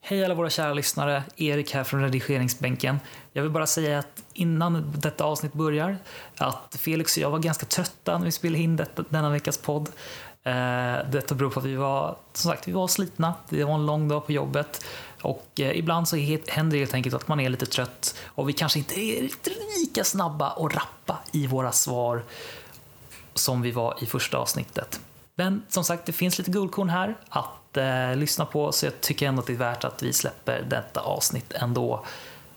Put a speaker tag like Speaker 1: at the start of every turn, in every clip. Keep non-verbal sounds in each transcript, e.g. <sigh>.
Speaker 1: Hej alla våra kära lyssnare, Erik här från redigeringsbänken. Jag vill bara säga att innan detta avsnitt börjar att Felix och jag var ganska trötta när vi spelade in detta, denna veckas podd. Eh, Detta beror på att vi var, som sagt, vi var slitna. Det var en lång dag på jobbet och eh, ibland så het- händer det helt enkelt att man är lite trött och vi kanske inte är lika snabba och rappa i våra svar som vi var i första avsnittet. Men som sagt, det finns lite guldkorn här att eh, lyssna på så jag tycker ändå att det är värt att vi släpper detta avsnitt ändå.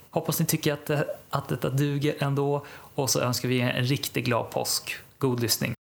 Speaker 1: Hoppas ni tycker att, eh, att detta duger ändå och så önskar vi er en riktigt glad påsk. God lyssning!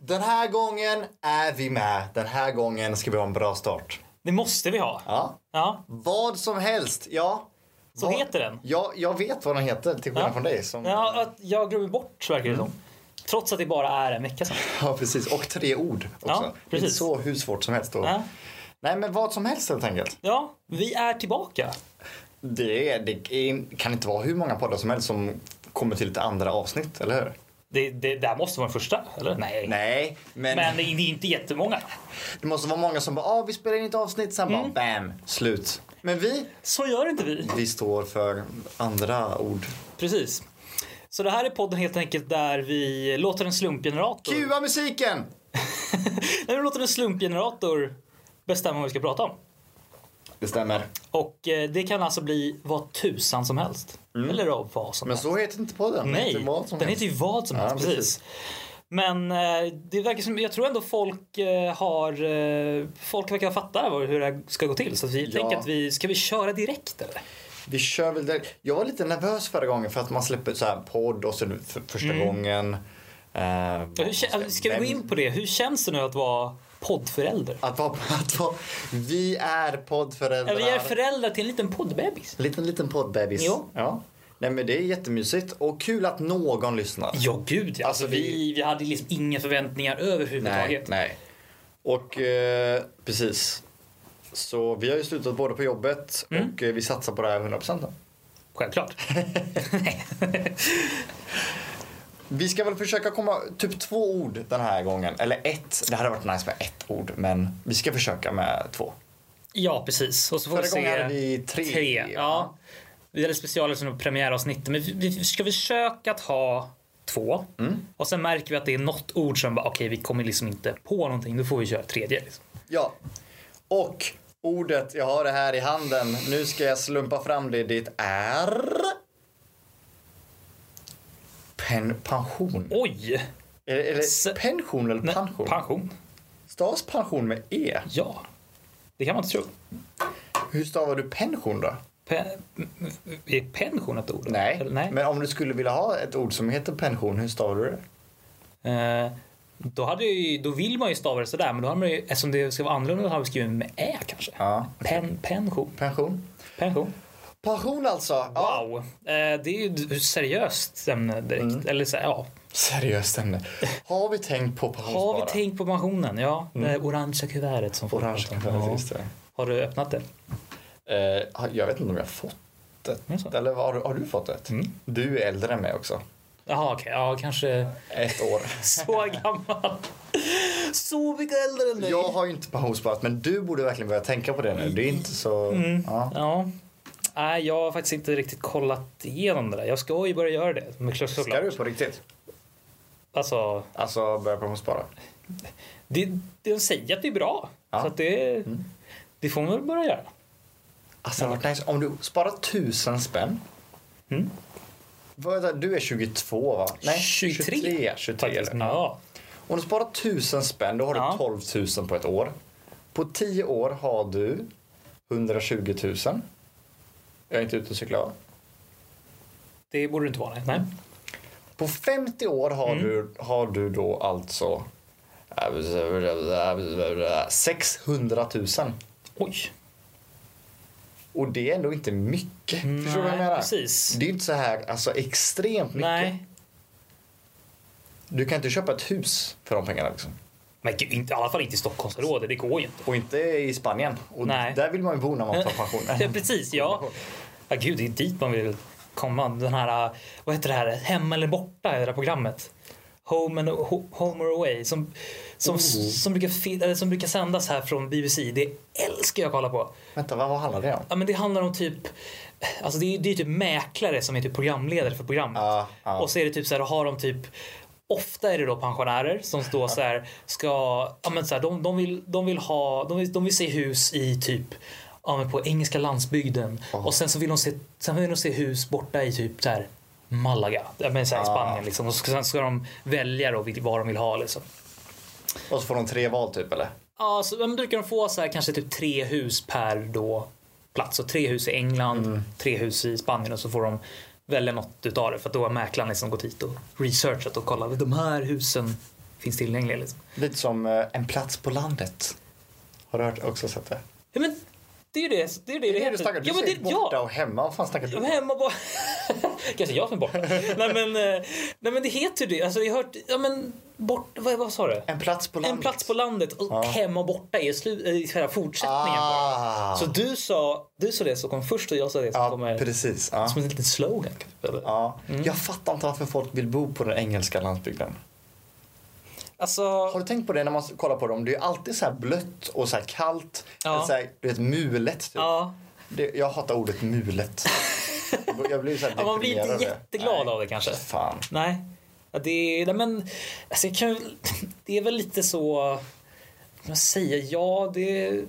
Speaker 2: Den här gången är vi med. Den här gången ska vi ha en bra start.
Speaker 3: Det måste vi ha.
Speaker 2: Ja.
Speaker 3: Ja,
Speaker 2: Vad som helst, ja.
Speaker 3: så
Speaker 2: Vad-
Speaker 3: heter den.
Speaker 2: Ja, jag vet vad den heter till skillnad
Speaker 3: Ja.
Speaker 2: från dig. Som...
Speaker 3: Ja, att jag glömmer bort verkar det som. Trots att det bara är en vecka sedan.
Speaker 2: <laughs> Ja, precis. Och tre ord också.
Speaker 3: Ja,
Speaker 2: det är inte
Speaker 3: precis.
Speaker 2: så hur svårt som helst. Och...
Speaker 3: Ja.
Speaker 2: Nej, men vad som helst helt enkelt.
Speaker 3: ja, vi är tillbaka.
Speaker 2: Det, är, det är, kan inte vara hur många poddar som helst som kommer till ett andra avsnitt, eller hur?
Speaker 3: Det, det där måste vara den första, eller? Nej.
Speaker 2: Nej, men,
Speaker 3: Men det är det är inte jättemånga.
Speaker 2: det måste vara många som bara ah, vi spelar in ett avsnitt, sen
Speaker 3: Mm.
Speaker 2: bara bam, slut. Men vi,
Speaker 3: Så gör inte vi.
Speaker 2: vi står för andra ord.
Speaker 3: Precis. Så det här är podden helt enkelt där vi låter en slumpgenerator...
Speaker 2: Kua musiken!
Speaker 3: Nej, vi låter en slumpgenerator bestämma vad vi ska prata om.
Speaker 2: Det stämmer.
Speaker 3: Och eh, det kan alltså bli vad tusan som helst. Eller av vad som
Speaker 2: Mm. Men
Speaker 3: helst.
Speaker 2: så heter inte podden. Den
Speaker 3: Nej,
Speaker 2: heter vad som
Speaker 3: den
Speaker 2: helst.
Speaker 3: heter ju vad som
Speaker 2: Ja,
Speaker 3: helst.
Speaker 2: precis.
Speaker 3: precis. Men eh, det verkar som, jag tror ändå folk eh, har, eh, folk verkar fatta vad- hur det här ska gå till. Så att vi
Speaker 2: Ja.
Speaker 3: tänker att vi, ska vi köra direkt eller?
Speaker 2: Vi kör väl direkt. Jag var lite nervös förra gången för att man släpper så här podd och så nu för första gången. Eh,
Speaker 3: Mm. Hur, kä- ska vi gå in på det? Hur känns det nu att vara poddförälder?
Speaker 2: Att vara, att vara, vi är poddföräldrar.
Speaker 3: Vi är föräldrar till en liten poddbebis.
Speaker 2: Liten, liten poddbebis.
Speaker 3: Jo.
Speaker 2: Ja. Nej men det är jättemysigt och kul att någon lyssnar.
Speaker 3: Ja, gud ja.
Speaker 2: Alltså,
Speaker 3: Alltså,
Speaker 2: vi-
Speaker 3: vi, vi hade liksom inga förväntningar
Speaker 2: Nej,
Speaker 3: överhuvudtaget.
Speaker 2: nej. Och eh, precis. Så vi har ju slutat både på jobbet
Speaker 3: Mm.
Speaker 2: och eh, vi satsar på det här 100%. då.
Speaker 3: Självklart.
Speaker 2: Vi ska väl försöka komma typ två ord den här gången. Eller ett. Det hade varit nice med ett ord men vi ska försöka med två.
Speaker 3: <laughs> Ja, precis. Och så får
Speaker 2: Förra
Speaker 3: vi se...
Speaker 2: gången hade vi tre.
Speaker 3: Tre, ja. Vi hade specialer som premiäravsnitt. Men vi, vi ska försöka att ha två.
Speaker 2: Mm.
Speaker 3: Och sen märker vi att det är något ord som bara, okej, vi kommer liksom inte på någonting. Då får vi köra tredje. Liksom.
Speaker 2: Ja. Och ordet, jag har det här i handen. Nu ska jag slumpa fram det. Det är... Pen, pension.
Speaker 3: Oj!
Speaker 2: Eller, eller
Speaker 3: S-
Speaker 2: pension eller
Speaker 3: Nej,
Speaker 2: pension?
Speaker 3: Pension.
Speaker 2: Stavas pension med E?
Speaker 3: Ja. Det kan man inte tro.
Speaker 2: Hur stavar du pension då?
Speaker 3: Pe- är pension ett ord?
Speaker 2: Nej.
Speaker 3: Eller, nej.
Speaker 2: Men om du skulle vilja ha ett ord som heter pension, hur stavar du det?
Speaker 3: Eh, då, hade jag ju, då vill man ju stava det sådär, men då har man ju, eftersom det ska vara annorlunda, då har vi skrivit med ä kanske.
Speaker 2: Ja.
Speaker 3: Pen, pension.
Speaker 2: Pension.
Speaker 3: pension.
Speaker 2: Pension alltså. Ja. Mm.
Speaker 3: Wow, eh, det är ju ett seriöst ämne direkt. Eller så, här, ja.
Speaker 2: Seriöst ämne. Har vi tänkt på pensionsspara?
Speaker 3: Har vi tänkt på pensionen? Ja, det orangea kuvertet som folk
Speaker 2: Mm.
Speaker 3: pratar
Speaker 2: Orange
Speaker 3: om.
Speaker 2: kanske,
Speaker 3: Ja.
Speaker 2: just det.
Speaker 3: Har du öppnat det?
Speaker 2: Eh, jag vet inte om jag har fått ett.
Speaker 3: Jaså? Mm.
Speaker 2: Eller har, du- har du fått ett? Du är äldre än mig också.
Speaker 3: Jaha, okej. Ja, kanske
Speaker 2: Ett år. <laughs>
Speaker 3: så gammal. Så mycket äldre än dig.
Speaker 2: jag har ju inte pensionssparat men du borde verkligen börja tänka på det nu. Det är inte så...
Speaker 3: Mm.
Speaker 2: Ja.
Speaker 3: Ja. Nej, jag har faktiskt inte riktigt kollat igenom det där. Jag ska ju börja göra det. Men klart-
Speaker 2: Ska
Speaker 3: såklart.
Speaker 2: du på riktigt?
Speaker 3: Alltså,
Speaker 2: Alltså börja pensionsspara?
Speaker 3: det, det de säger att det är bra.
Speaker 2: Ja. Mm.
Speaker 3: Så att det, det får man väl börja göra.
Speaker 2: Alltså det hade varit nice. Om du sparar tusen spänn.
Speaker 3: Mm.
Speaker 2: Vad- Du är 22 va?
Speaker 3: 23.
Speaker 2: 23, 23
Speaker 3: Faktiskt.
Speaker 2: är det.
Speaker 3: Ja.
Speaker 2: Om du sparar tusen spänn då har
Speaker 3: Ja.
Speaker 2: du 12 000 på ett år. På 10 år har du 120 000. Jag är inte ute och cyklar va?
Speaker 3: Det borde det inte vara. Nej. nej. Mm.
Speaker 2: På 50 år har, du, har du då alltså 600 000.
Speaker 3: Oj.
Speaker 2: Och det är ändå inte mycket. Förstår du vad jag
Speaker 3: Nej,
Speaker 2: menar?
Speaker 3: precis.
Speaker 2: Det är inte så här alltså, extremt mycket.
Speaker 3: Nej.
Speaker 2: Du kan inte köpa ett hus för de pengarna. Liksom.
Speaker 3: Men gud, inte, i alla fall inte i Stockholmsområdet. Det går ju inte.
Speaker 2: Och inte i Spanien. Och
Speaker 3: Nej.
Speaker 2: Där vill man ju bo när man tar
Speaker 3: <laughs> Ja,
Speaker 2: pension.
Speaker 3: precis, ja. ja. Gud, det är dit man vill komma. Den här, äh, vad heter det här, Hem eller borta, är det här programmet. Home, and, ho, home or away som, som, som, brukar, fi- eller som brukar sändas här från BBC. Det älskar jag att kolla på.
Speaker 2: Vänta, vad, vad handlar det om?
Speaker 3: Ja, men det handlar om typ Alltså det är, det är typ mäklare som är typ programledare för programmet.
Speaker 2: Ja, ja.
Speaker 3: Och så är det typ så här, då har de typ Ofta är det då pensionärer som står så här, ska, ja men så här, de, de, vill, de vill ha, de vill, de vill se hus i typ, ja men på engelska landsbygden. Och sen så vill de se, sen vill de se hus borta i typ så här Malaga, ja men så här i
Speaker 2: Ja.
Speaker 3: Spanien liksom. Och så- sen ska de välja då vil- vad de vill ha liksom.
Speaker 2: Och så får de tre val typ eller?
Speaker 3: Ja, så men brukar de få så här, kanske typ tre hus per då plats. Så tre hus i England,
Speaker 2: Mm.
Speaker 3: tre hus i Spanien och så får de välja något utav det. För att då har mäklaren liksom gått hit och researchat och kollat. De här husen finns tillgängliga. Liksom.
Speaker 2: Lite som eh, En plats på landet. Har du hört också sett det?
Speaker 3: Ja, men det är ju det det, är ju det,
Speaker 2: Det är du snackar, du
Speaker 3: ja, men
Speaker 2: säger
Speaker 3: det,
Speaker 2: borta
Speaker 3: ja,
Speaker 2: och hemma. Vad fan snackar
Speaker 3: Ja,
Speaker 2: du
Speaker 3: men hemma bara... <laughs> Kanske jag som är borta. nej, men, eh, nej men det heter ju det. Alltså, jag har hört... Ja, men, bort, vad, vad sa du?
Speaker 2: En plats på landet.
Speaker 3: En plats på landet och
Speaker 2: Ja.
Speaker 3: hem och borta är slu, eh, själva fortsättningen. på det.
Speaker 2: ah.
Speaker 3: Så du sa, du sa det som kom först och jag sa det som
Speaker 2: Ja,
Speaker 3: kommer
Speaker 2: precis. Ja.
Speaker 3: som en liten slogan. typ, Eller?
Speaker 2: Ja. Jag fattar inte varför folk vill bo på den engelska landsbygden.
Speaker 3: Alltså,
Speaker 2: Har du tänkt på det när man kollar på dem? Det är ju alltid så här blött och så här kallt.
Speaker 3: Ja.
Speaker 2: Så här, du vet, mulet typ.
Speaker 3: ja.
Speaker 2: Det, jag hatar
Speaker 3: <laughs>
Speaker 2: ordet mulet. jag blir så här
Speaker 3: ja, man blir
Speaker 2: deprimerad
Speaker 3: inte
Speaker 2: över det.
Speaker 3: jätteglad
Speaker 2: Nej.
Speaker 3: av det kanske.
Speaker 2: Fan.
Speaker 3: Nej, ja, det är, nej, men alltså, jag kan, väl- det är väl lite så, vad kan man säga, ja det,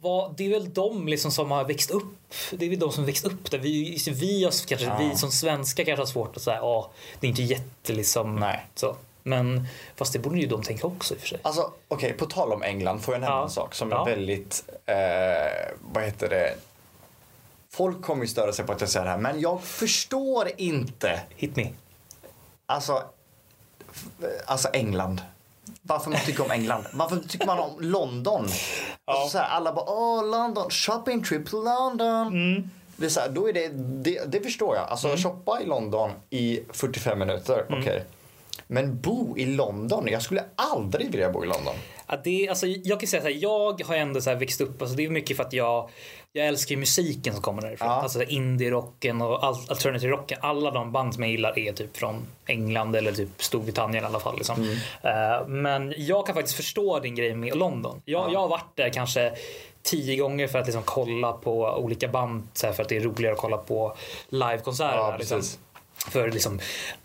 Speaker 3: vad, det är väl de liksom som har växt upp, det är väl de som växt upp där. Vi, vi, har, kanske,
Speaker 2: Ja.
Speaker 3: vi som svenskar kanske har svårt att säga, ja det är inte jätte liksom.
Speaker 2: Nej.
Speaker 3: Så. Men fast det borde ju de tänka också i och för sig.
Speaker 2: Alltså okej, på tal om England får jag nämna
Speaker 3: Ja.
Speaker 2: en sak som
Speaker 3: Ja.
Speaker 2: är väldigt, eh, vad heter det? Folk kommer ju störa sig på att jag säger det här men jag förstår inte
Speaker 3: Hit me.
Speaker 2: Alltså, f- alltså England. Varför man tycker om England? Varför tycker man om London? Alltså så här, alla bara åh London, shopping trip to London.
Speaker 3: Mm.
Speaker 2: Det, är så här, då är det, det, det förstår jag. Alltså shoppa i London i 45 minuter,
Speaker 3: Mm.
Speaker 2: okej. Men bo i London? Jag skulle aldrig vilja bo i London.
Speaker 3: Ja, det, alltså, jag kan säga så här, jag har ändå så här växt upp, alltså, det är mycket för att jag, jag älskar ju musiken som kommer därifrån.
Speaker 2: Ja.
Speaker 3: Alltså indie-rocken och al- alternative rocken. Alla de band som jag gillar är typ från England eller typ Storbritannien i alla fall. Liksom.
Speaker 2: Mm.
Speaker 3: Eh, men jag kan faktiskt förstå din grej med London. Jag, jag har varit där kanske tio gånger för att liksom kolla på olika band så här, för att det är roligare att kolla på livekonserter.
Speaker 2: Ja,
Speaker 3: där, liksom.
Speaker 2: precis.
Speaker 3: För liksom,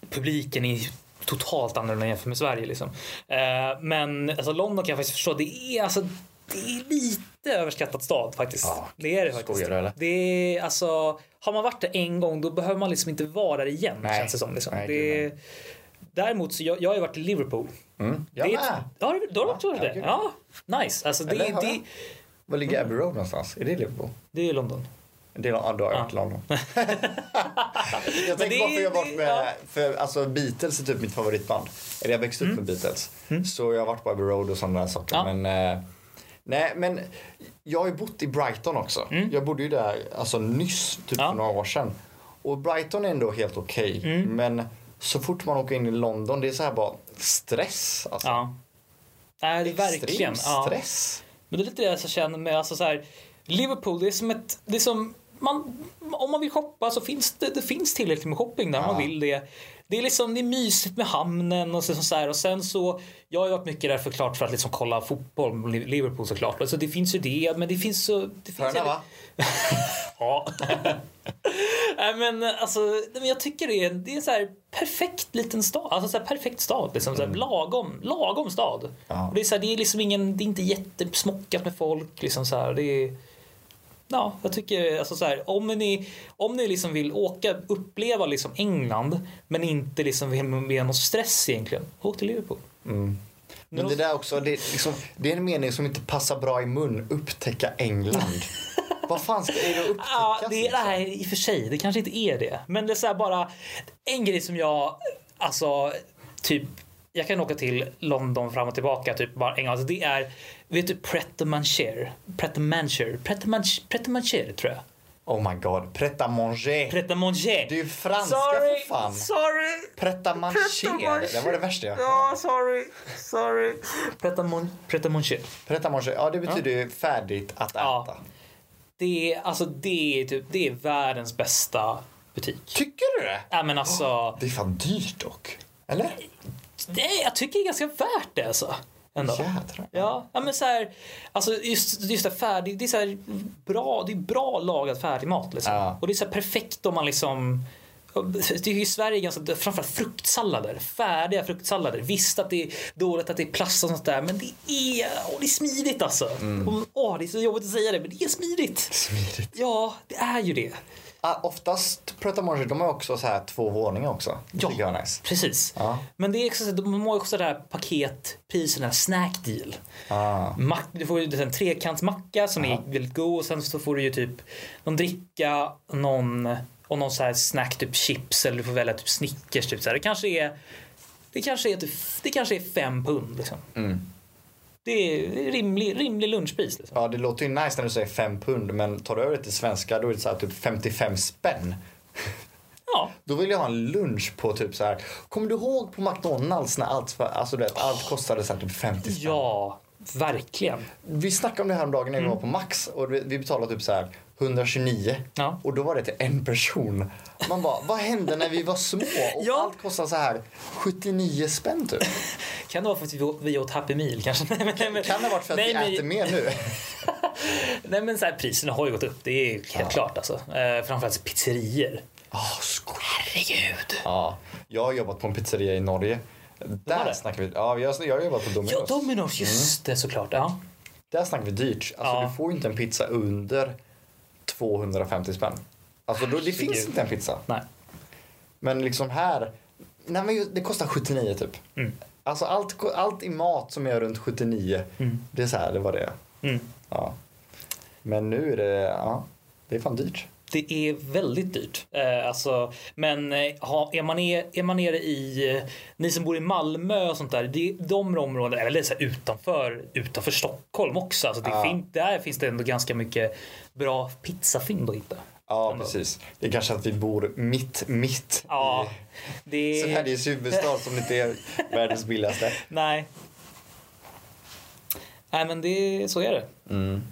Speaker 3: publiken är totalt annorlunda jämfört med Sverige. Liksom. Eh, men alltså, London kan jag faktiskt förstå. Det är, alltså, det är lite överskattat stad faktiskt.
Speaker 2: Ja,
Speaker 3: det är det faktiskt.
Speaker 2: skojar du, eller?
Speaker 3: Det är, alltså, har man varit där en gång då behöver man liksom inte vara där igen.
Speaker 2: Nej.
Speaker 3: Känns det som. Liksom.
Speaker 2: Nej,
Speaker 3: det
Speaker 2: gud,
Speaker 3: är, däremot så jag, jag har ju varit i Liverpool.
Speaker 2: Jag
Speaker 3: det
Speaker 2: med.
Speaker 3: är, ja, har du- då har du också varit
Speaker 2: Ja,
Speaker 3: där?
Speaker 2: gud.
Speaker 3: Ja, nice. Alltså, det,
Speaker 2: Eller
Speaker 3: det,
Speaker 2: har
Speaker 3: det,
Speaker 2: jag? Var ligger Abbey Road någonstans? Är det Liverpool?
Speaker 3: det är London.
Speaker 2: Det är, ja, då har jag varit
Speaker 3: <laughs>
Speaker 2: i London. jag
Speaker 3: det
Speaker 2: tänker
Speaker 3: är-
Speaker 2: bara för jag har
Speaker 3: det-
Speaker 2: varit
Speaker 3: ja.
Speaker 2: med, för alltså Beatles är typ mitt favoritband. Eller jag växte upp med Beatles. Så jag har varit på Abbey Road och sådana där saker.
Speaker 3: Mm. Ja.
Speaker 2: Men, eh, nej men jag har ju bott i Brighton också. Jag bodde ju där alltså nyss, typ
Speaker 3: Mm. Ja.
Speaker 2: för några år sedan. Och Brighton är ändå helt okej.
Speaker 3: Mm.
Speaker 2: Men så fort man åker in i London, det är så här bara stress. Alltså.
Speaker 3: Ja. Nej, det är
Speaker 2: Extrem
Speaker 3: verkligen. Ja.
Speaker 2: stress.
Speaker 3: Men det är lite det jag känner med alltså så här, Liverpool, det är som ett... Det är som, man, om man vill shoppa så finns det, det finns tillräckligt med shopping där om man
Speaker 2: Ja.
Speaker 3: vill det. Det är, liksom, det är mysigt med hamnen och så, så här. Och sen så, jag har ju varit mycket där förklart för att liksom kolla fotboll med Liverpool såklart. Alltså det finns ju det, men det finns så... Det finns
Speaker 2: Hörna va?
Speaker 3: Ja. <laughs> Nej, men alltså, nej, men jag tycker det är, det är en så här perfekt liten stad. Alltså så här perfekt stad. Liksom, så här, lagom, lagom stad.
Speaker 2: Ja.
Speaker 3: Och det, är så här, det är liksom ingen, det är inte jättesmockat med folk. Liksom, så här, det är, ja, jag tycker alltså, så här, om ni, om ni liksom vill åka, uppleva liksom England men inte liksom vill med någon stress egentligen, åk till Liverpool.
Speaker 2: Men
Speaker 3: Men
Speaker 2: det där också, det, är liksom, det är en mening som inte passar bra i mun. Upptäcka
Speaker 3: <laughs>
Speaker 2: England. Vad fan ska är det att upptäcka?
Speaker 3: Ja, det,
Speaker 2: liksom?
Speaker 3: nej, i och för sig. Det kanske inte är det. Men det är så här bara en grej som jag, alltså typ jag kan åka till London fram och tillbaka typ bara en gång. Alltså det är, vet du, Pret-a-Manger? Pret-a-Manger? Pret-a-Manger Pret-a-Manger, tror jag.
Speaker 2: Oh my god. Pret à manger.
Speaker 3: Pret-a-Manger.
Speaker 2: Det är ju franska
Speaker 3: sorry,
Speaker 2: för fan.
Speaker 3: Sorry!
Speaker 2: Pret à manger. Det var det värsta jag
Speaker 3: Ja, sorry. Sorry. Pret-a-Mon- Pret-a-Manger.
Speaker 2: Pret à manger. Ja, det betyder ju färdigt att äta.
Speaker 3: Ja. Det är, alltså det är typ, det är världens bästa butik.
Speaker 2: Tycker du det?
Speaker 3: Ja men alltså,
Speaker 2: Det är fan dyrt dock. Eller?
Speaker 3: nej, jag tycker det är ganska värt det alltså. Ändå.
Speaker 2: Jädrar.
Speaker 3: Ja, ja men så här, alltså just, just det här färdig, det är så här bra, det är bra lagad färdig mat liksom.
Speaker 2: Ja.
Speaker 3: Och det är så här perfekt om man liksom det är ju i Sverige ganska, framförallt fruktsallader, färdiga fruktsallader. Visst att det är dåligt att det är plast och sånt där men det är, åh, det är smidigt alltså. Och, åh, det är så jobbigt att säga det men det är smidigt.
Speaker 2: Smidigt.
Speaker 3: Ja, det är ju det.
Speaker 2: Ah, oftast Pret à manger, de har också så här två våningar också. Det
Speaker 3: Ja.
Speaker 2: tycker jag är nice.
Speaker 3: Precis.
Speaker 2: Ja.
Speaker 3: Men det är också, så- de har också det här paketpriserna, snack deal.
Speaker 2: Ah.
Speaker 3: Mack, du får ju en trekantsmacka som är väldigt god och sen så får du ju typ någon dricka någon, och någon så här snack, typ chips eller du får välja typ Snickers. Typ så här. Det kanske är det kanske är, typ, det kanske är fem pund. Liksom.
Speaker 2: Mm.
Speaker 3: Det är rimlig, rimlig lunchpris. Liksom.
Speaker 2: Ja, det låter ju nice när du säger fem pund, men tar du över det till svenska då är det så här typ 55 spänn.
Speaker 3: Ja,
Speaker 2: Då vill jag ha en lunch på typ så här. Kommer du ihåg på McDonalds när allt, var- alltså du vet, allt kostade så här typ 50 spänn?
Speaker 3: ja verkligen.
Speaker 2: Vi snackade om det här om dagen när
Speaker 3: Mm.
Speaker 2: vi var på Max och vi vi betalade typ så här 129
Speaker 3: Ja.
Speaker 2: och då var det till en person. Man bara, vad hände när vi var små och
Speaker 3: Ja.
Speaker 2: allt kostade så här 79 spänn typ?
Speaker 3: Kan det vara för att vi, å- vi åt Happy Meal kanske? <laughs> Nej, men- nej, men-
Speaker 2: Kan det ha varit för att
Speaker 3: nej,
Speaker 2: vi
Speaker 3: men-
Speaker 2: äter mer nu? <laughs>
Speaker 3: Nej men så här, priserna har ju gått upp, det är helt klart alltså. Eh, framförallt pizzerier.
Speaker 2: Ah, skoj.
Speaker 3: Herregud!
Speaker 2: Ja, jag har jobbat på en pizzeria i Norge.
Speaker 3: Var
Speaker 2: Där
Speaker 3: det?
Speaker 2: snackar vi, ja jag, jag har jobbat på Domino's.
Speaker 3: Ja, Domino's, just det såklart. Ja.
Speaker 2: Där snackar vi dyrt. Alltså
Speaker 3: Ja.
Speaker 2: du får ju inte en pizza under 250 spänn. Alltså då, det
Speaker 3: Herregud.
Speaker 2: finns inte en pizza.
Speaker 3: Nej.
Speaker 2: Men liksom här, nej men ju- det kostar 79 typ.
Speaker 3: Mm.
Speaker 2: Alltså allt, allt i mat som är runt 79, det är så här, det var det är.
Speaker 3: Mm.
Speaker 2: ja. Men nu är det, ja, det är fan dyrt.
Speaker 3: Det är väldigt dyrt. Eh, alltså, men eh, ha, är, man är, är man nere i, eh, ni som bor i Malmö och sånt där, det, de områdena, eller så här, utanför, utanför Stockholm också, alltså, det
Speaker 2: Ja.
Speaker 3: fin, där finns det ändå ganska mycket bra pizzafynd att hitta.
Speaker 2: Ja,
Speaker 3: Ändå.
Speaker 2: precis. Det är kanske att vi bor mitt, mitt
Speaker 3: Ja,
Speaker 2: i
Speaker 3: det
Speaker 2: Sveriges huvudstad som inte är världens billigaste.
Speaker 3: Nej. Nej men det, så är det.
Speaker 2: Mm.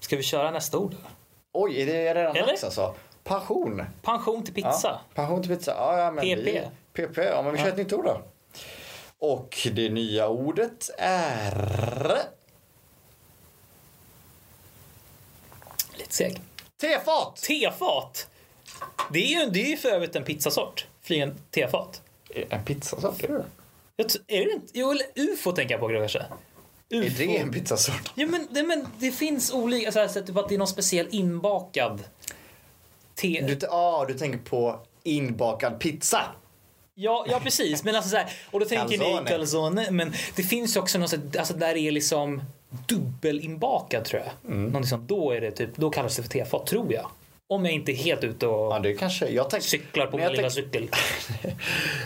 Speaker 3: Ska vi köra nästa ord? eller?
Speaker 2: Oj, är det redan
Speaker 3: Eller?
Speaker 2: dags alltså? Passion.
Speaker 3: Pension till pizza.
Speaker 2: Ja, pension till pizza. Ja, ja, men
Speaker 3: PP.
Speaker 2: Vi, PP. Ja, men vi kör ett nytt ord då. Och det nya ordet är
Speaker 3: Lite seg.
Speaker 2: tefat.
Speaker 3: Tefat! Det är ju det är ju för övrigt en pizzasort. Flygande tefat.
Speaker 2: En pizzasort? Är det?
Speaker 3: Jag, t- är det inte? Jo, eller ufo tänker jag på kanske.
Speaker 2: Är
Speaker 3: UFO.
Speaker 2: det en pizzasort?
Speaker 3: Ja, men, det, men det finns olika, så här, så att typ att det är någon speciell inbakad te.
Speaker 2: Du, ah, du tänker på inbakad pizza.
Speaker 3: Ja, ja precis. Men alltså så här, och då tänker
Speaker 2: Calzone.
Speaker 3: ni calzone. Men det finns ju också något sånt- alltså där det är liksom dubbelinbakad tror jag. Mm. Liksom, då, är det typ, då kallas det för tefat tror jag. Om jag inte är helt ute och
Speaker 2: Ja, det kanske... Jag tänker,
Speaker 3: cyklar på
Speaker 2: när,
Speaker 3: min
Speaker 2: jag
Speaker 3: lilla
Speaker 2: tänker,
Speaker 3: cykel.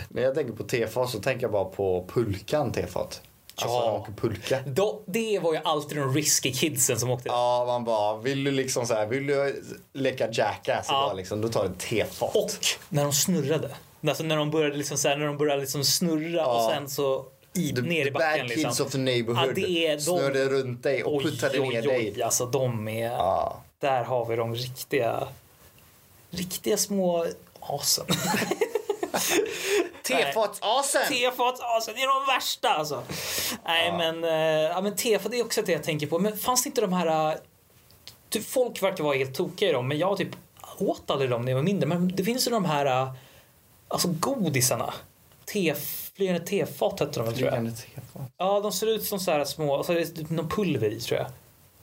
Speaker 2: när jag tänker på tefat så tänker jag bara på pulkan tefat. Alltså
Speaker 3: Ja.
Speaker 2: när man åker pulka.
Speaker 3: Då, det var ju alltid de risky kidsen som åkte.
Speaker 2: Ja, man bara, vill du liksom så här, vill du leka jackass
Speaker 3: Ja.
Speaker 2: idag liksom, då tar du tefat.
Speaker 3: Och när de snurrade. Alltså när de började, liksom så här, när de började liksom snurra och sen så i,
Speaker 2: The,
Speaker 3: ner i
Speaker 2: the
Speaker 3: backen.
Speaker 2: bad kids
Speaker 3: liksom.
Speaker 2: of the neighborhood
Speaker 3: Ja, det är de-
Speaker 2: snörde runt dig och
Speaker 3: Oj,
Speaker 2: puttade
Speaker 3: oj,
Speaker 2: ner dig.
Speaker 3: oj. Alltså de är...
Speaker 2: Ja.
Speaker 3: Där har vi de riktiga, riktiga små <laughs> asen.
Speaker 2: Tefatsasen!
Speaker 3: Tefatsasen, det är de värsta alltså. Nej men, eh, ja, men tefat är också det jag tänker på. Men fanns det inte de här, eh, typ, folk verkar vara helt tokiga i dem men jag typ åt aldrig dem när jag var mindre. Men det finns ju de här, eh, alltså godisarna. Tef, flygande tefat hette de väl, tror jag.
Speaker 2: Flygande tefat.
Speaker 3: Ja de ser ut som så här små, alltså, det är typ någon pulver i tror jag.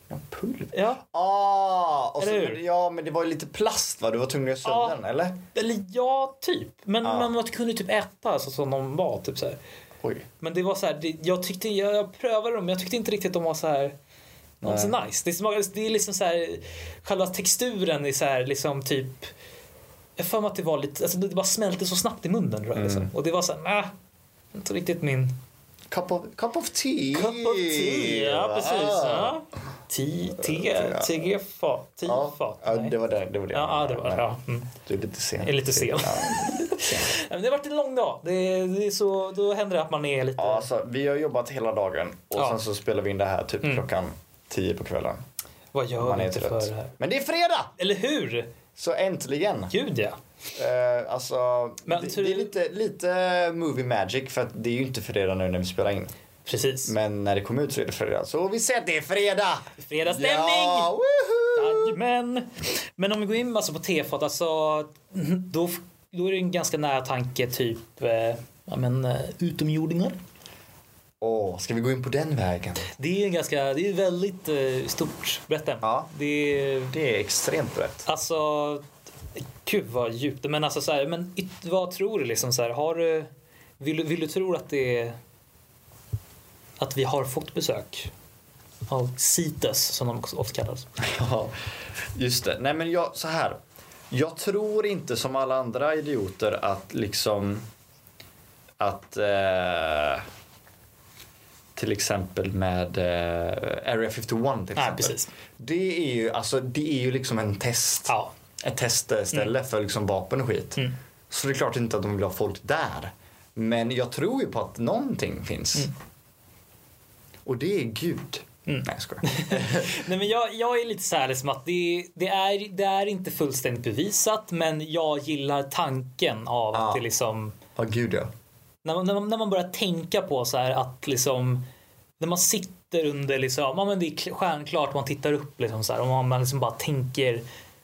Speaker 2: Ja, pulver.
Speaker 3: Ja.
Speaker 2: Ah, och så,
Speaker 3: Eller hur? Ah.
Speaker 2: ja, men det var ju lite plast va? Du var tvungen att göra
Speaker 3: Ja.
Speaker 2: sönder den, eller?
Speaker 3: Eller ja, typ. Men
Speaker 2: Ja.
Speaker 3: man, man kunde typ äta alltså, som de var. Typ, så här.
Speaker 2: Oj.
Speaker 3: Men det var så här, det, jag, tyckte, jag, jag prövade dem men jag tyckte inte riktigt att de var så här de var så nice. Det, smakade, det är liksom så här, själva texturen är så här liksom typ jag har för mig
Speaker 2: Mm.
Speaker 3: att det var lite, alltså det bara smälte så snabbt i munnen tror jag, liksom. Och det var så här, nah, inte riktigt min
Speaker 2: Cup of, cup of tea.
Speaker 3: Cup of tea, ja precis.
Speaker 2: Ah.
Speaker 3: Ja. Ti- te- TGFA, TIFA.
Speaker 2: Ja, ja, det var det. Det var det.
Speaker 3: Ja, ja, det var det. Ja. Mm.
Speaker 2: Du är lite sen.
Speaker 3: Jag är lite sen. Ja, men Det har varit en lång dag. Det, det är så, då händer det att man är lite...
Speaker 2: Ja, alltså, vi har jobbat hela dagen och
Speaker 3: Ja. Mm.
Speaker 2: sen så spelar vi in det här typ klockan tio på kvällen.
Speaker 3: vad gör
Speaker 2: Man
Speaker 3: man
Speaker 2: är
Speaker 3: inte för det här?
Speaker 2: trött. Men det är fredag!
Speaker 3: Eller hur?
Speaker 2: Så äntligen.
Speaker 3: Gud ja.
Speaker 2: Eh, alltså,
Speaker 3: Men
Speaker 2: det,
Speaker 3: tror
Speaker 2: det är
Speaker 3: du-
Speaker 2: lite, lite movie magic för att det är ju inte fredag nu när vi spelar in.
Speaker 3: Precis.
Speaker 2: Men när det kommer ut så är det fredag. Så vi säger att det är fredag!
Speaker 3: Fredagsstämning!
Speaker 2: Ja, woho!
Speaker 3: Jajamän! Men om vi går in alltså på tefat, alltså, då, då är det en ganska nära tanke typ eh, ja, men, eh, utomjordingar.
Speaker 2: Åh, ska vi gå in på den vägen?
Speaker 3: Det är en ganska, det är väldigt eh, stort brett ämne.
Speaker 2: Ja.
Speaker 3: Det är,
Speaker 2: Det är extremt brett.
Speaker 3: alltså, gud vad djupt. Men alltså så här, men yt- vad tror du liksom så här, har du, vill, du- vill du tro att det är, att vi har fått besök av CITES som de också ofta kallas?
Speaker 2: <laughs> Ja, just det. Nej men jag, så här. Jag tror inte som alla andra idioter att liksom att eh, till exempel med eh, Area 51 till exempel.
Speaker 3: Nej, precis.
Speaker 2: Det är ju, alltså, det är ju liksom en test.
Speaker 3: Ja. Mm.
Speaker 2: Ett testställe för liksom vapen och skit. Så det är klart inte att de vill ha folk där. Men jag tror ju på att någonting finns.
Speaker 3: Mm.
Speaker 2: Och det är Gud. Nej jag skojar.
Speaker 3: Nej, men jag, jag är lite så här liksom att det, det, är, det är inte fullständigt bevisat men jag gillar tanken av
Speaker 2: Ja.
Speaker 3: att det liksom
Speaker 2: Ja Gud ja.
Speaker 3: när man, när, man, när man börjar tänka på så här att liksom när man sitter under liksom, ja men det är kl- stjärnklart man tittar upp liksom så här och man, man liksom bara tänker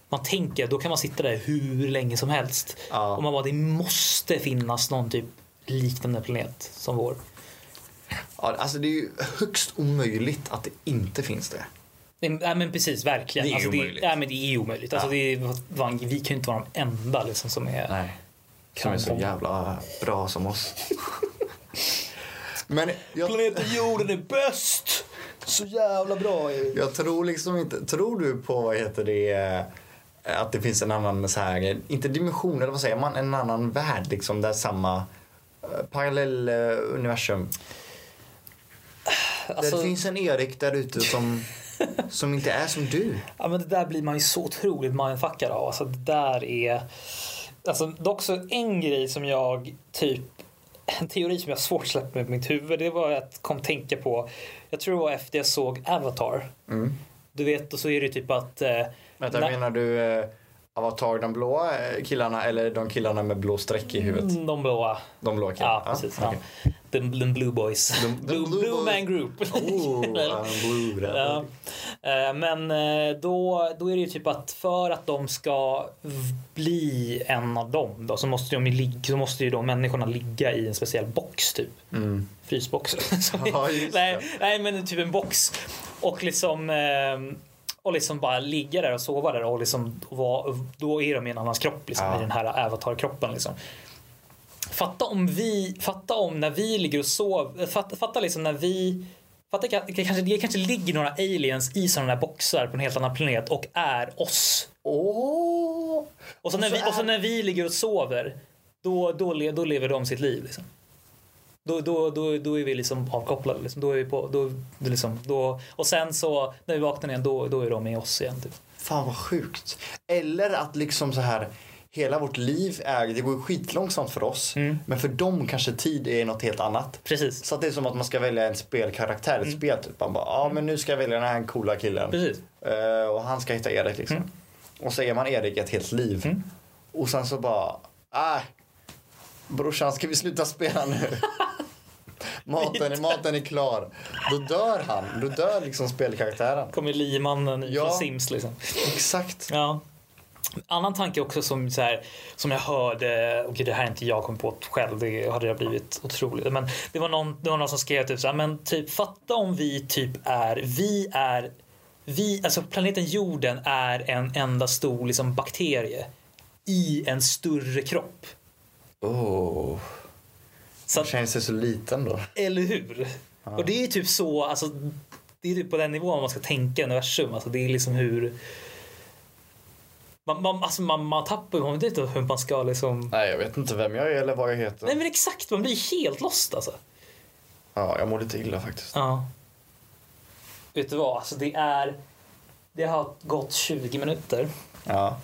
Speaker 3: man tänker, då kan man sitta där hur länge som helst.
Speaker 2: Ja.
Speaker 3: Och man bara, det måste finnas någon typ liknande planet som vår.
Speaker 2: Ja, alltså det är ju högst omöjligt att det inte finns det.
Speaker 3: Nej men- nej, men precis, verkligen.
Speaker 2: Det är
Speaker 3: alltså,
Speaker 2: omöjligt.
Speaker 3: Det, nej, men det är omöjligt. Alltså,
Speaker 2: Ja.
Speaker 3: det är, fan, vi kan ju inte vara de enda liksom, som är...
Speaker 2: Nej. Som är så jävla bra som oss. Men jag,
Speaker 3: Planeten jorden är bäst! Så jävla bra är
Speaker 2: jag tror liksom inte... Tror du på, vad heter det, eh, att det finns en annan så här, inte dimension eller vad säger man, en annan värld liksom där samma eh, parallell eh, universum.
Speaker 3: alltså,
Speaker 2: det finns en Erik där ute som, som inte är som du.
Speaker 3: ja, men Det där blir man ju så otroligt mindfuckad av. Alltså, det där är... Alltså, dock så en grej som jag typ... En teori som jag har svårt släppt med mitt huvud. Det var att kom tänka på. Jag tror det var efter jag såg Avatar. Du vet, och så är det typ att... Eh,
Speaker 2: Mm. Vänta,
Speaker 3: när-
Speaker 2: menar du eh, Avatar, de blåa eh, killarna eller de killarna med blå streck i huvudet?
Speaker 3: de blåa.
Speaker 2: De blå
Speaker 3: Ja,
Speaker 2: killarna?
Speaker 3: precis.
Speaker 2: okej.
Speaker 3: Ja. The, the Blue Boys.
Speaker 2: The- the
Speaker 3: blue,
Speaker 2: Blue
Speaker 3: blue
Speaker 2: Boys.
Speaker 3: Man Group. <laughs>
Speaker 2: Oh, I'm blue.
Speaker 3: Ja.
Speaker 2: Ja.
Speaker 3: Eh, Men eh, då, då är det ju typ att för att de ska v- bli en av dem då, så, måste de ju ligga, så måste ju de människorna ligga i en speciell box typ. Frysbox. Som är-
Speaker 2: Mm. <laughs> Ja, just det.
Speaker 3: nej, nej men typ en box. Och liksom eh, och liksom bara ligga där och sova där och liksom vara, då är de i en annans kropp liksom,
Speaker 2: Ja.
Speaker 3: i den här avatarkroppen liksom. Fatta om vi, fatta om när vi ligger och sover, fatta, fatta liksom när vi Fatta, ka- det kanske, det kanske ligger några aliens i sådana där boxar på en helt annan planet och är oss.
Speaker 2: Åh!
Speaker 3: Och så när,
Speaker 2: så
Speaker 3: vi, och så
Speaker 2: Alltså, är-
Speaker 3: när vi ligger och sover, då, då, le- då lever de sitt liv. Liksom. Då, då, då, då är vi liksom avkopplade. Liksom. Då är vi på, då, då liksom, då, och sen så när vi vaknar igen, då, då är de med oss igen. Typ.
Speaker 2: Fan vad sjukt. Eller att liksom så här Hela vårt liv är, det går skitlångsamt för oss
Speaker 3: Mm.
Speaker 2: men för dem kanske tid är något helt annat.
Speaker 3: Precis.
Speaker 2: Så att det är som att man ska välja en spelkaraktär, ett spel typ. Man bara, ja men nu ska jag välja den här coola killen.
Speaker 3: Precis.
Speaker 2: Eh, och han ska hitta Erik liksom. Och så är man Erik ett helt liv. Och sen så bara, äh, brorsan ska vi sluta spela nu? maten, är- maten är klar. Då dör han, då dör liksom spelkaraktären.
Speaker 3: Kommer limannen
Speaker 2: Ja.
Speaker 3: från Sims liksom.
Speaker 2: Exakt.
Speaker 3: Ja. Annan tanke också som, så här, som jag hörde, och det här är inte jag kom på själv, det hade jag blivit otroligt. Men det var någon, det var någon som skrev typ så här, men typ fatta om vi typ är, vi är, vi, alltså planeten jorden är en enda stor liksom bakterie i en större kropp.
Speaker 2: Oh.
Speaker 3: Så
Speaker 2: Man
Speaker 3: att,
Speaker 2: känner sig så liten då.
Speaker 3: eller hur? Och det är typ så, alltså det är typ på den nivån man ska tänka universum, alltså det är liksom hur man, man, alltså man, man tappar man vet inte hur man ska liksom
Speaker 2: Nej, jag vet inte vem jag är eller vad jag heter.
Speaker 3: Nej men exakt, man blir helt lost alltså.
Speaker 2: Ja, jag mår lite illa faktiskt.
Speaker 3: Ja. Vet du vad? Alltså det är... Det har gått 20 minuter.
Speaker 2: Ja.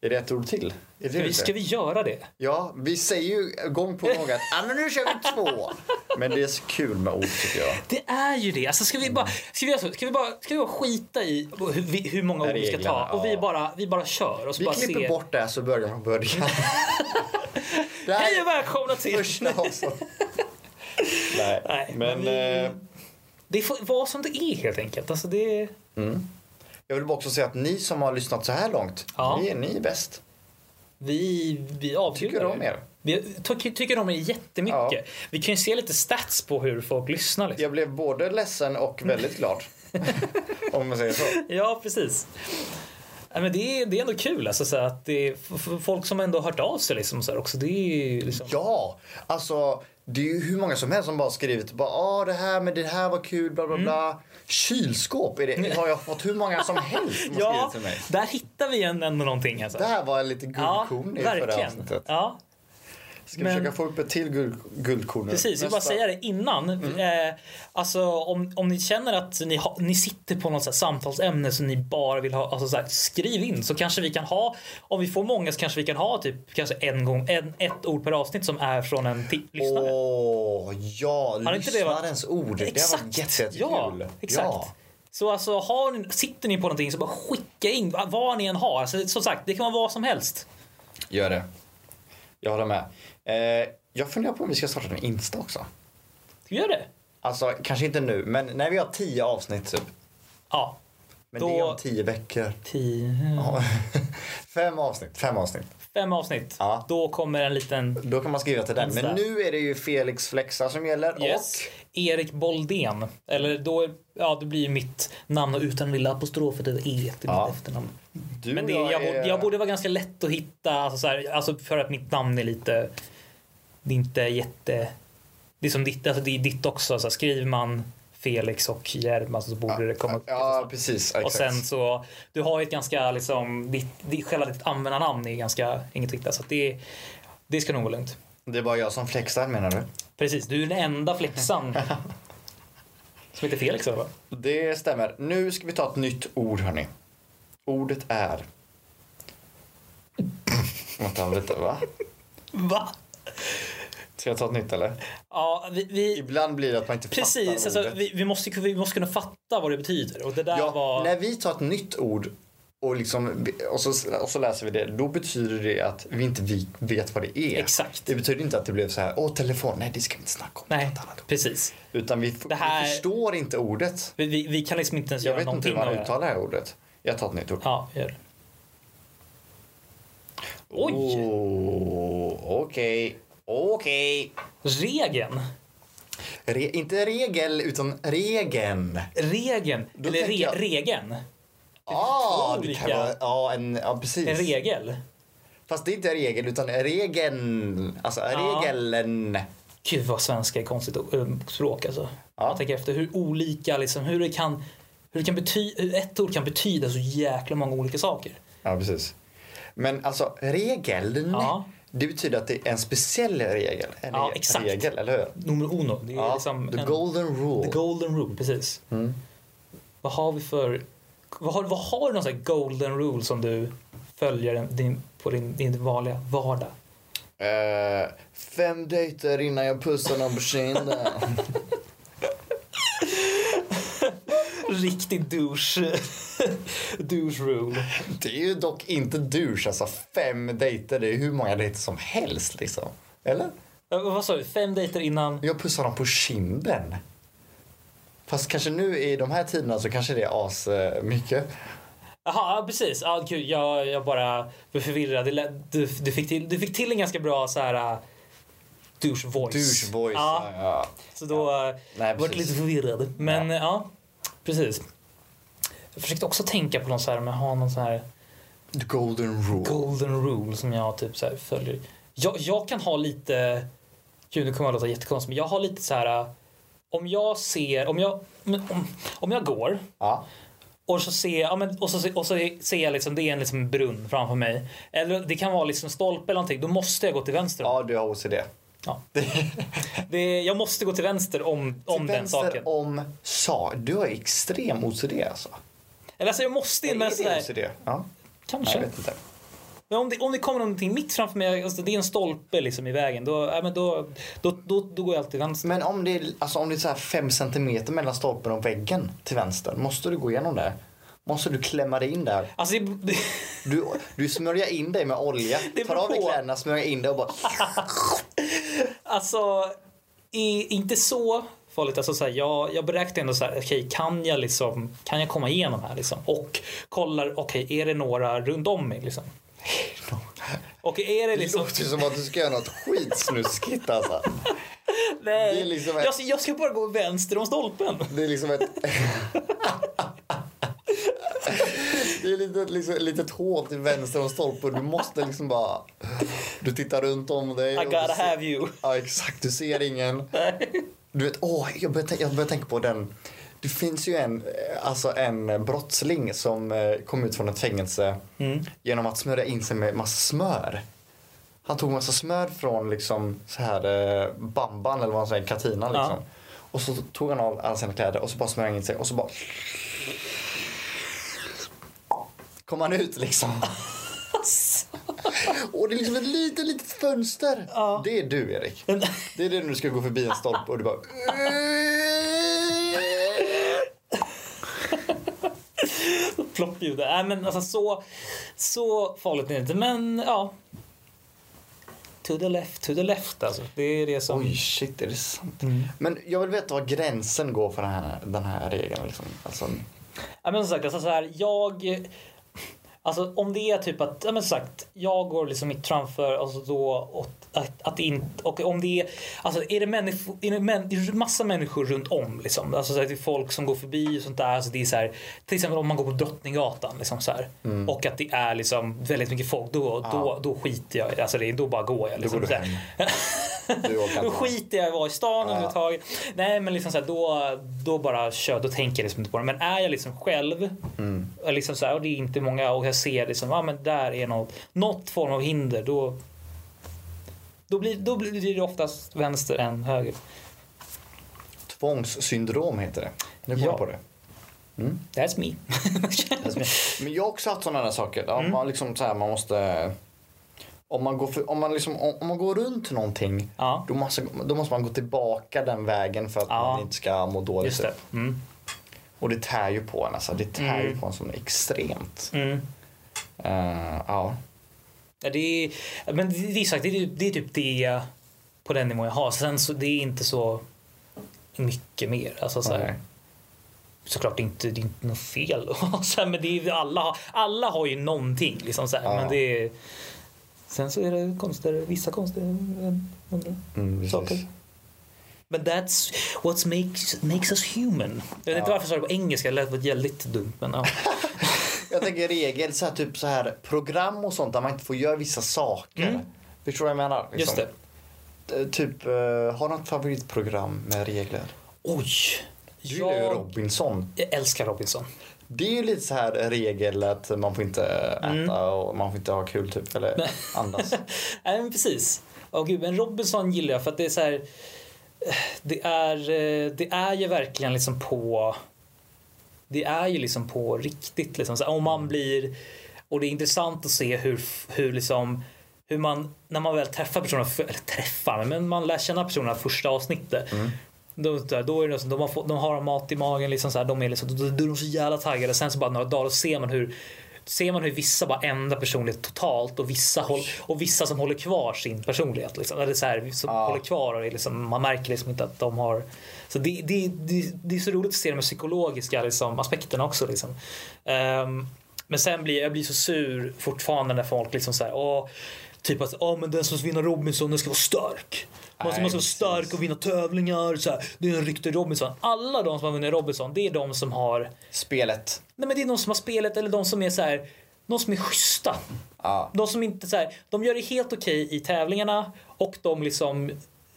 Speaker 2: Är det ett ord till? Är det
Speaker 3: Ska vi,
Speaker 2: det?
Speaker 3: ska vi göra det?
Speaker 2: Ja, vi säger ju gång på gång att ah, men nu kör vi två. Men det är så kul med ord tycker jag.
Speaker 3: Det är ju det. Alltså ska vi
Speaker 2: Mm.
Speaker 3: bara, ska vi, alltså, ska vi bara, ska vi bara skita i hur, vi- hur många ord vi ska ta
Speaker 2: Reglerna,
Speaker 3: och vi
Speaker 2: ja.
Speaker 3: bara, vi bara kör och så
Speaker 2: Vi
Speaker 3: bara
Speaker 2: klipper
Speaker 3: ser.
Speaker 2: bort det här så börjar
Speaker 3: <laughs>
Speaker 2: från början. Det här
Speaker 3: Hej och
Speaker 2: är
Speaker 3: välkomna till...
Speaker 2: första avsnittet. Nej,
Speaker 3: <laughs> Nej, men
Speaker 2: men eh,
Speaker 3: Det får vara som det är helt enkelt. Alltså det...
Speaker 2: jag vill bara också säga att ni som har lyssnat så här långt,
Speaker 3: Ja.
Speaker 2: ni, är, ni är bäst.
Speaker 3: Vi, vi avgudar
Speaker 2: Tycker om
Speaker 3: det.
Speaker 2: er.
Speaker 3: Vi tycker, tycker om er jättemycket.
Speaker 2: Ja.
Speaker 3: Vi kan ju se lite stats på hur folk lyssnar. Liksom.
Speaker 2: Jag blev både ledsen och väldigt glad.
Speaker 3: <laughs>
Speaker 2: Om man säger så.
Speaker 3: Ja, precis. Nej, men det, är, det är ändå kul alltså, så här, att det är f- f- folk som ändå har hört av sig. Liksom, så här, också. Det är ju liksom...
Speaker 2: Ja, alltså det är ju hur många som helst som bara skrivit bara ah, det här men det här var kul bla
Speaker 3: Mm.
Speaker 2: bla bla. Kylskåp är det, har jag fått hur många som helst som
Speaker 3: <laughs>
Speaker 2: har
Speaker 3: Ja,
Speaker 2: skrivit till mig.
Speaker 3: där hittar vi en- ändå någonting. Alltså.
Speaker 2: Det här var lite guldkorn i förra avsnittet.
Speaker 3: Ja,
Speaker 2: Ska
Speaker 3: Men-
Speaker 2: försöka få upp ett till guld, guldkorn nu.
Speaker 3: precis. Jag vill bara
Speaker 2: Nästa. Mm.
Speaker 3: säga det innan. Eh, alltså, om, om ni känner att ni, ha, ni sitter på något så här samtalsämne som ni bara vill ha, alltså, så här, skriv in så kanske vi kan ha, om vi får många så kanske vi kan ha typ kanske en gång, en, ett ord per avsnitt som är från en ti- lyssnare.
Speaker 2: Åh, ja,
Speaker 3: Har inte det varit-
Speaker 2: lyssnarens ord. Det har varit jätte-
Speaker 3: ja,
Speaker 2: jättekul.
Speaker 3: exakt. Så alltså, har ni, sitter ni på någonting så bara skicka in vad- vad ni än har. Alltså, som sagt, det kan vara vad som helst.
Speaker 2: gör det. Jag håller med. Eh, jag funderar på om vi ska starta en Insta också.
Speaker 3: Ska vi göra det?
Speaker 2: Alltså, kanske inte nu, men när vi har tio avsnitt typ.
Speaker 3: Ja.
Speaker 2: Men
Speaker 3: Då-
Speaker 2: det är om tio veckor.
Speaker 3: Tio,
Speaker 2: Ja. <laughs> Fem avsnitt, fem avsnitt.
Speaker 3: fem avsnitt.
Speaker 2: Ja.
Speaker 3: Då kommer en liten...
Speaker 2: Då kan man skriva till den.
Speaker 3: Insta.
Speaker 2: Men nu är det ju Felix Flexa som gäller
Speaker 3: Yes.
Speaker 2: och
Speaker 3: Erik Boldén. Eller då, ja, det blir ju mitt namn och utan lilla apostrof för det är E till
Speaker 2: Ja.
Speaker 3: mitt efternamn.
Speaker 2: du
Speaker 3: Men det,
Speaker 2: och
Speaker 3: jag,
Speaker 2: jag,
Speaker 3: borde,
Speaker 2: är...
Speaker 3: jag borde vara ganska lätt att hitta, alltså, så här, alltså för att mitt namn är lite... Det är inte jätte... Det är som ditt, alltså det är ditt också. Så här, skriver man Felix och Jerma så borde det komma upp.
Speaker 2: Ja, precis. Exakt.
Speaker 3: och sen så, du har ju ett ganska liksom, ditt, ditt, själva ditt användarnamn är ganska inget riktigt. Så att det, det ska nog gå lugnt.
Speaker 2: Det är bara jag som flexar menar du?
Speaker 3: Precis, du är den enda
Speaker 2: <laughs>
Speaker 3: flexan som heter Felix va?
Speaker 2: Det stämmer. Nu ska vi ta ett nytt ord hörni. Ordet är... Vänta lite va?
Speaker 3: Va?
Speaker 2: Ska jag ta ett nytt eller?
Speaker 3: Ja, vi, vi,
Speaker 2: Ibland blir det att man inte
Speaker 3: precis.
Speaker 2: fattar
Speaker 3: Alltså,
Speaker 2: ordet.
Speaker 3: vi, vi, måste, vi måste kunna fatta vad det betyder. Och det där
Speaker 2: Ja,
Speaker 3: var...
Speaker 2: När vi tar ett nytt ord och, liksom, och, så, och så läser vi det, då betyder det att vi inte vi vet vad det är.
Speaker 3: Exakt.
Speaker 2: Det betyder inte att det blev så här, åh telefon, nej det ska vi inte snacka om.
Speaker 3: Nej,
Speaker 2: Något annat ord."
Speaker 3: precis.
Speaker 2: Utan vi, f-
Speaker 3: Det här-
Speaker 2: vi förstår inte ordet.
Speaker 3: Vi, vi, vi kan liksom inte ens
Speaker 2: Jag
Speaker 3: göra
Speaker 2: vet inte
Speaker 3: någonting
Speaker 2: hur man
Speaker 3: av det.
Speaker 2: uttalar det här ordet. Jag tar ett nytt ord.
Speaker 3: Ja, gör det. Oj!
Speaker 2: Oh, Okej, okej.
Speaker 3: Regeln.
Speaker 2: Re, inte regel, utan regeln.
Speaker 3: Regeln.
Speaker 2: Då
Speaker 3: Eller re,
Speaker 2: tänker jag-
Speaker 3: regeln.
Speaker 2: Ja,
Speaker 3: två
Speaker 2: Ah, det kan
Speaker 3: olika.
Speaker 2: vara, ja, en, ja precis.
Speaker 3: En regel.
Speaker 2: Fast det är inte regel, utan regeln. Alltså
Speaker 3: Ja.
Speaker 2: regeln.
Speaker 3: Gud vad svenska är konstigt ö, språk alltså.
Speaker 2: Ja.
Speaker 3: Jag tänker efter hur olika liksom, hur det kan, hur det kan bety- hur ett ord kan betyda så jäkla många olika saker.
Speaker 2: Ja, precis. Men alltså regeln,
Speaker 3: Ja.
Speaker 2: det betyder att det är en speciell regel. En
Speaker 3: Ja,
Speaker 2: re-
Speaker 3: exakt.
Speaker 2: regel, eller hur?
Speaker 3: Nummer uno. Det är
Speaker 2: Ja,
Speaker 3: liksom
Speaker 2: the
Speaker 3: en-
Speaker 2: golden rule. Mm.
Speaker 3: the golden rule, precis. Vad har vi för, vad har, vad har du någon sån här golden rule som du följer din, på din, din vanliga vardag?
Speaker 2: Eh, fem dejter innan jag pussar någon
Speaker 3: <laughs>
Speaker 2: på kinden.
Speaker 3: Riktig douche, <laughs> douche rule.
Speaker 2: det är ju dock inte douche, alltså fem dejter, det är hur många dejter som helst liksom. Eller?
Speaker 3: Ö, Vad sa du? Fem dejter innan?
Speaker 2: Jag pussar dem på kinden. Fast kanske nu i de här tiderna så kanske det är as eh, mycket.
Speaker 3: Jaha, ja, precis. Ja, gud, jag, jag bara blev förvirrad. Det lät- Du, du, fick till, du fick till en ganska bra så här, uh, douche voice.
Speaker 2: Douche voice.
Speaker 3: Ja,
Speaker 2: Ja.
Speaker 3: så då uh,
Speaker 2: Nej,
Speaker 3: var jag
Speaker 2: precis.
Speaker 3: lite förvirrad. Men ja. ja, precis. Jag försökte också tänka på någon så här, men ha någon så här
Speaker 2: The golden rule.
Speaker 3: golden rule som jag typ så här följer. Jag, jag kan ha lite, gud nu kommer jag låta jättekonstigt, men jag har lite så här, uh, om jag ser, om jag, men om, om jag går
Speaker 2: Ja.
Speaker 3: och så ser, ja, men, och så, se- och så ser jag liksom, det är en liksom brunn framför mig. Eller det kan vara liksom stolpe eller någonting. Då måste jag gå till vänster.
Speaker 2: ja, du har OCD.
Speaker 3: Ja. Det är, jag måste gå till vänster om, om den
Speaker 2: Till vänster
Speaker 3: saken.
Speaker 2: om sa. Du har extrem OCD alltså.
Speaker 3: Eller alltså jag måste in
Speaker 2: Är
Speaker 3: med
Speaker 2: det
Speaker 3: sådär.
Speaker 2: OCD? Ja. Nej,
Speaker 3: Kanske.
Speaker 2: jag vet inte.
Speaker 3: Men om det, om det kommer någonting mitt framför mig, alltså det är en stolpe liksom i vägen, då, ja, men då, då, då, då går jag alltid till vänster.
Speaker 2: Men om det är, alltså, om det är så här fem centimeter mellan stolpen och väggen till vänster, måste du gå igenom där? Måste du klämma dig in där?
Speaker 3: Alltså det, det, <laughs>
Speaker 2: Du, du smörjer in dig med olja,
Speaker 3: Det
Speaker 2: tar
Speaker 3: beror
Speaker 2: av dig
Speaker 3: på.
Speaker 2: kläderna, smörjer in dig och bara...
Speaker 3: alltså i, inte så farligt. Alltså så här, jag, jag beräknar ändå så här, okej kan jag liksom, kan jag komma igenom här liksom? Och kollar, okej är det några runt om mig
Speaker 2: <laughs>
Speaker 3: liksom? Och är det
Speaker 2: Det
Speaker 3: liksom...
Speaker 2: låter som att du ska göra något skitsnuskigt alltså.
Speaker 3: Nej,
Speaker 2: det är liksom ett-
Speaker 3: jag, jag ska bara gå vänster om stolpen.
Speaker 2: Det är liksom ett... Det är lite, liksom, ett litet hål till vänster om stolpen. Du måste liksom bara... Du tittar runt om dig.
Speaker 3: I
Speaker 2: och du
Speaker 3: gotta
Speaker 2: ser-
Speaker 3: have you.
Speaker 2: Ja, exakt. Du ser ingen. Du vet, åh, jag börjar, tänka, jag börjar tänka på den. Det finns ju en, eh, alltså en brottsling som eh, kom ut från ett fängelse genom att smörja in sig med massa smör. Han tog massa smör från liksom så här eh, bamban eller vad man säger, katinan
Speaker 3: Ja.
Speaker 2: liksom. Och så tog han av alla sina kläder och så bara smörjde han in sig och så bara kom han ut liksom. och det är liksom ett litet, litet fönster.
Speaker 3: Ja.
Speaker 2: Det är du Erik. Det är det när du ska gå förbi en stolpe och du bara...
Speaker 3: Ploppljud. Nej men alltså så, så farligt är det inte. Men ja. To the left, to the left alltså. Det är det som...
Speaker 2: Oj, shit, är det sant?
Speaker 3: Mm.
Speaker 2: Men jag vill veta var gränsen går för den här, den här regeln. Liksom. Alltså,
Speaker 3: Ja, men som sagt, alltså så här, jag... Alltså om det är typ att, ja men som sagt, jag går liksom mitt framför alltså då åt, att, att inte, och om det är, alltså är det människor, är det män, är det massa människor runt om liksom, alltså så här, det är folk som går förbi och sånt där, alltså det är så här, till exempel om man går på Drottninggatan liksom så här,
Speaker 2: Mm.
Speaker 3: och att det är liksom väldigt mycket folk, då, då, då skiter jag i det, alltså det, är- då bara går jag liksom.
Speaker 2: går du
Speaker 3: så här. <laughs>
Speaker 2: du orkar
Speaker 3: Då
Speaker 2: inte.
Speaker 3: skiter jag i att vara i stan
Speaker 2: Ja.
Speaker 3: överhuvudtaget. Nej men liksom så här, då, då bara kör, då tänker jag liksom inte på det. Men är jag liksom själv och, liksom så här, och det är inte många och jag ser liksom, ah, men där är något, något form av hinder då, då, blir, då blir det oftast vänster än höger.
Speaker 2: Tvångssyndrom heter det. Nu kommer
Speaker 3: Ja.
Speaker 2: jag på det.
Speaker 3: That's me. <laughs>
Speaker 2: Men jag har också haft sådana där saker.
Speaker 3: Mm.
Speaker 2: Ja, man, liksom, så här, man måste... Om man, går för, om, man liksom, om, om man går runt någonting
Speaker 3: Ja.
Speaker 2: då, måste, då måste man gå tillbaka den vägen för att
Speaker 3: Ja.
Speaker 2: man inte ska må dåligt.
Speaker 3: Just det.
Speaker 2: typ.
Speaker 3: Mm.
Speaker 2: Och det tär ju på en. Alltså. Det tär ju
Speaker 3: Mm.
Speaker 2: på en som extremt.
Speaker 3: Mm.
Speaker 2: Eh, ja.
Speaker 3: Ja, det är, men det det är, sagt, det, är, det är typ det på den nivån jag har. Sen så det är inte så mycket mer. Alltså, så här,
Speaker 2: Nej.
Speaker 3: såklart inte, det är inte något fel. Och <laughs> så här, men det är, alla, alla har ju någonting. Liksom, så här,
Speaker 2: Ja.
Speaker 3: men det är, sen så är det konster, vissa konster än andra
Speaker 2: Mm, precis.
Speaker 3: saker. Men that's what makes, makes us human. Jag vet inte varför jag sa det på engelska, det lät väldigt dumt. Men,
Speaker 2: <laughs>
Speaker 3: ja.
Speaker 2: Jag tänker regel, så här, typ så här, program och sånt där man inte får göra vissa saker.
Speaker 3: Mm.
Speaker 2: Förstår du vad jag menar? Liksom,
Speaker 3: Just det.
Speaker 2: Eh, Typ, uh, har du något favoritprogram med regler?
Speaker 3: Oj!
Speaker 2: Du gillar ju
Speaker 3: Jag,
Speaker 2: Robinson.
Speaker 3: jag älskar Robinson.
Speaker 2: Det är ju lite så här regel att man får inte äta
Speaker 3: Mm.
Speaker 2: och man får inte ha kul typ eller
Speaker 3: <laughs>
Speaker 2: andas.
Speaker 3: Nej men precis. Åh gud, men Robinson gillar jag för att det är så här. Det är, eh, det är ju verkligen liksom på. Det är ju liksom på riktigt liksom. Så här, om man blir. Och det är intressant att se hur, hur liksom. Hur man, när man väl träffar personerna, för- eller träffar, men man lär känna personerna första avsnittet. Då, då är det så, de, har fått, de har mat i magen, liksom så här, de är liksom, då, då är de så jävla taggade. Sen så bara några dagar ser man hur ser man hur vissa bara ändrar personlighet totalt och vissa, håll, och vissa som håller kvar sin personlighet. Liksom. Eller så här, som
Speaker 2: Ja.
Speaker 3: håller kvar och det är liksom, man märker liksom inte att de har... Så det, det, det, det är så roligt att se de här psykologiska liksom, aspekterna också. Liksom. Ehm, men sen blir jag blir så sur fortfarande när folk liksom så här, åh, typ att åh, men den som vinner Robinson den ska vara stark. Man ska,
Speaker 2: Nej,
Speaker 3: man ska vara
Speaker 2: precis.
Speaker 3: stark och vinna tävlingar. Så här. Det är en riktig Robinson. Alla de som har vunnit Robinson, det är de som har
Speaker 2: Spelet.
Speaker 3: Nej men det är de som har spelet eller de som är så här, de som är schyssta.
Speaker 2: Ja.
Speaker 3: De som inte så här, de gör det helt okej i tävlingarna och de liksom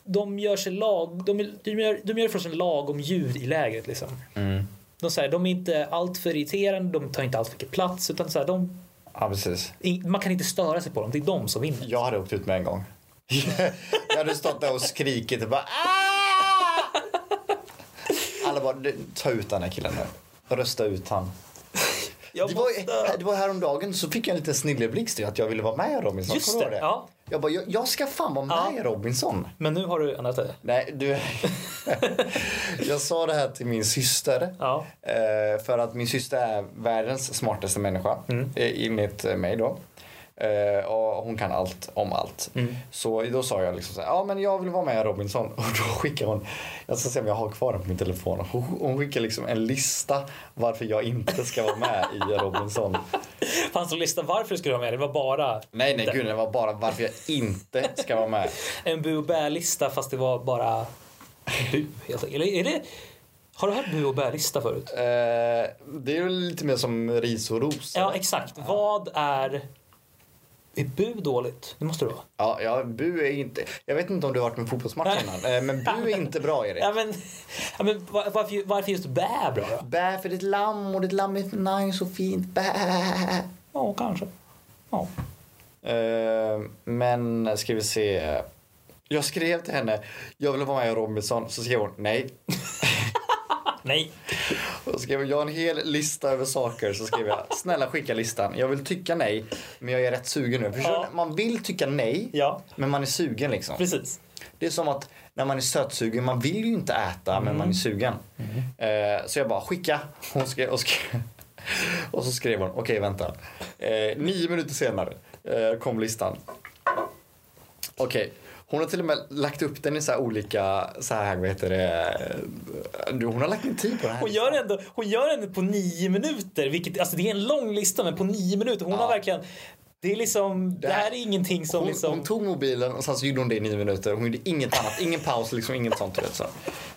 Speaker 3: de gör sig lag, de, de, gör, de gör först en lagom ljud i lägret liksom.
Speaker 2: Mm.
Speaker 3: De, så här, de är inte alltför irriterande, de tar inte allt för mycket plats utan så här, de,
Speaker 2: ja, precis.
Speaker 3: in- man kan inte störa sig på dem. Det är de som vinner.
Speaker 2: <laughs> Jag hade åkt ut med en gång. jag hade hade stått där och skrikit och bara "Ah!" Alla bara, "Du, ta ut den här killen nu. Rösta ut han.
Speaker 3: Jag
Speaker 2: Det var,
Speaker 3: måste...
Speaker 2: det var häromdagen så fick jag en liten snilleblixt i att jag ville vara med i Robinson.
Speaker 3: Just
Speaker 2: Kommer du ihåg
Speaker 3: det, ja.
Speaker 2: Jag bara, jag, jag ska fan vara med i Robinson.
Speaker 3: Men nu har du ändrat <laughs> dig.
Speaker 2: Nej, du. jag sa det här till min syster.
Speaker 3: Ja.
Speaker 2: Eh, för att min syster är världens smartaste människa
Speaker 3: Mm.
Speaker 2: eh, enligt eh, mig då. Eh, och hon kan allt om allt.
Speaker 3: Mm.
Speaker 2: Så då sa jag liksom så här, ja men jag vill vara med i Robinson. <laughs> Och då skickar hon, jag ska se om jag har kvar den på min telefon. Hon, hon skickar liksom en lista varför jag inte ska vara med
Speaker 3: <laughs>
Speaker 2: i Robinson.
Speaker 3: Fanns det en lista varför du skulle vara med? Det var bara
Speaker 2: Nej nej gud, det var bara varför jag inte ska vara med.
Speaker 3: en bu och bä-lista fast det var bara bu helt enkelt. Eller är det... Har du hört bu och bä-lista förut?
Speaker 2: Eh, det är ju lite mer som ris och ros.
Speaker 3: Ja,
Speaker 2: eller?
Speaker 3: exakt. Vad är... Är bu dåligt? Det måste det vara.
Speaker 2: Ja, ja, Bu är inte... Jag vet inte om du har varit med fotbollsmatch innan, eh, men Bu är inte
Speaker 3: <laughs>
Speaker 2: bra Erik.
Speaker 3: Ja, men, ja, men var- varför, varför just bä bra då?
Speaker 2: Bä för ditt lamm och ditt lamm är nice och fint. Bä.
Speaker 3: Ja, kanske. Ja.
Speaker 2: Eh, men ska vi se. Jag skrev till henne, jag vill vara med i Robinson. Så skrev hon nej. <laughs>
Speaker 3: Ah, Nej.
Speaker 2: Och så skrev hon, jag har en hel lista över saker. Så skrev jag, snälla skicka listan. Jag vill tycka nej, men jag är rätt sugen nu. Förstår
Speaker 3: Ja.
Speaker 2: du? Man vill tycka nej,
Speaker 3: Ja.
Speaker 2: men man är sugen liksom.
Speaker 3: Precis.
Speaker 2: Det är som att när man är sötsugen, man vill ju inte äta men man är sugen. Eh, så jag bara skicka. Hon skrev, och, skrev, <laughs> och så skrev hon, okej vänta. Eh, nio minuter senare eh, kom listan. Okej. Hon har till och med lagt upp den i så här olika, så här vad heter det, eh, du, hon har lagt en tid på det här.
Speaker 3: Hon gör det ändå, hon gör det ändå på nio minuter. Vilket, alltså det är en lång lista, men på nio minuter. Hon har verkligen... Det är liksom... Det här är ingenting som
Speaker 2: hon,
Speaker 3: liksom...
Speaker 2: hon tog mobilen och sen så gjorde hon det i nio minuter. Hon gjorde inget annat, ingen paus, liksom inget sånt. du Vet, så.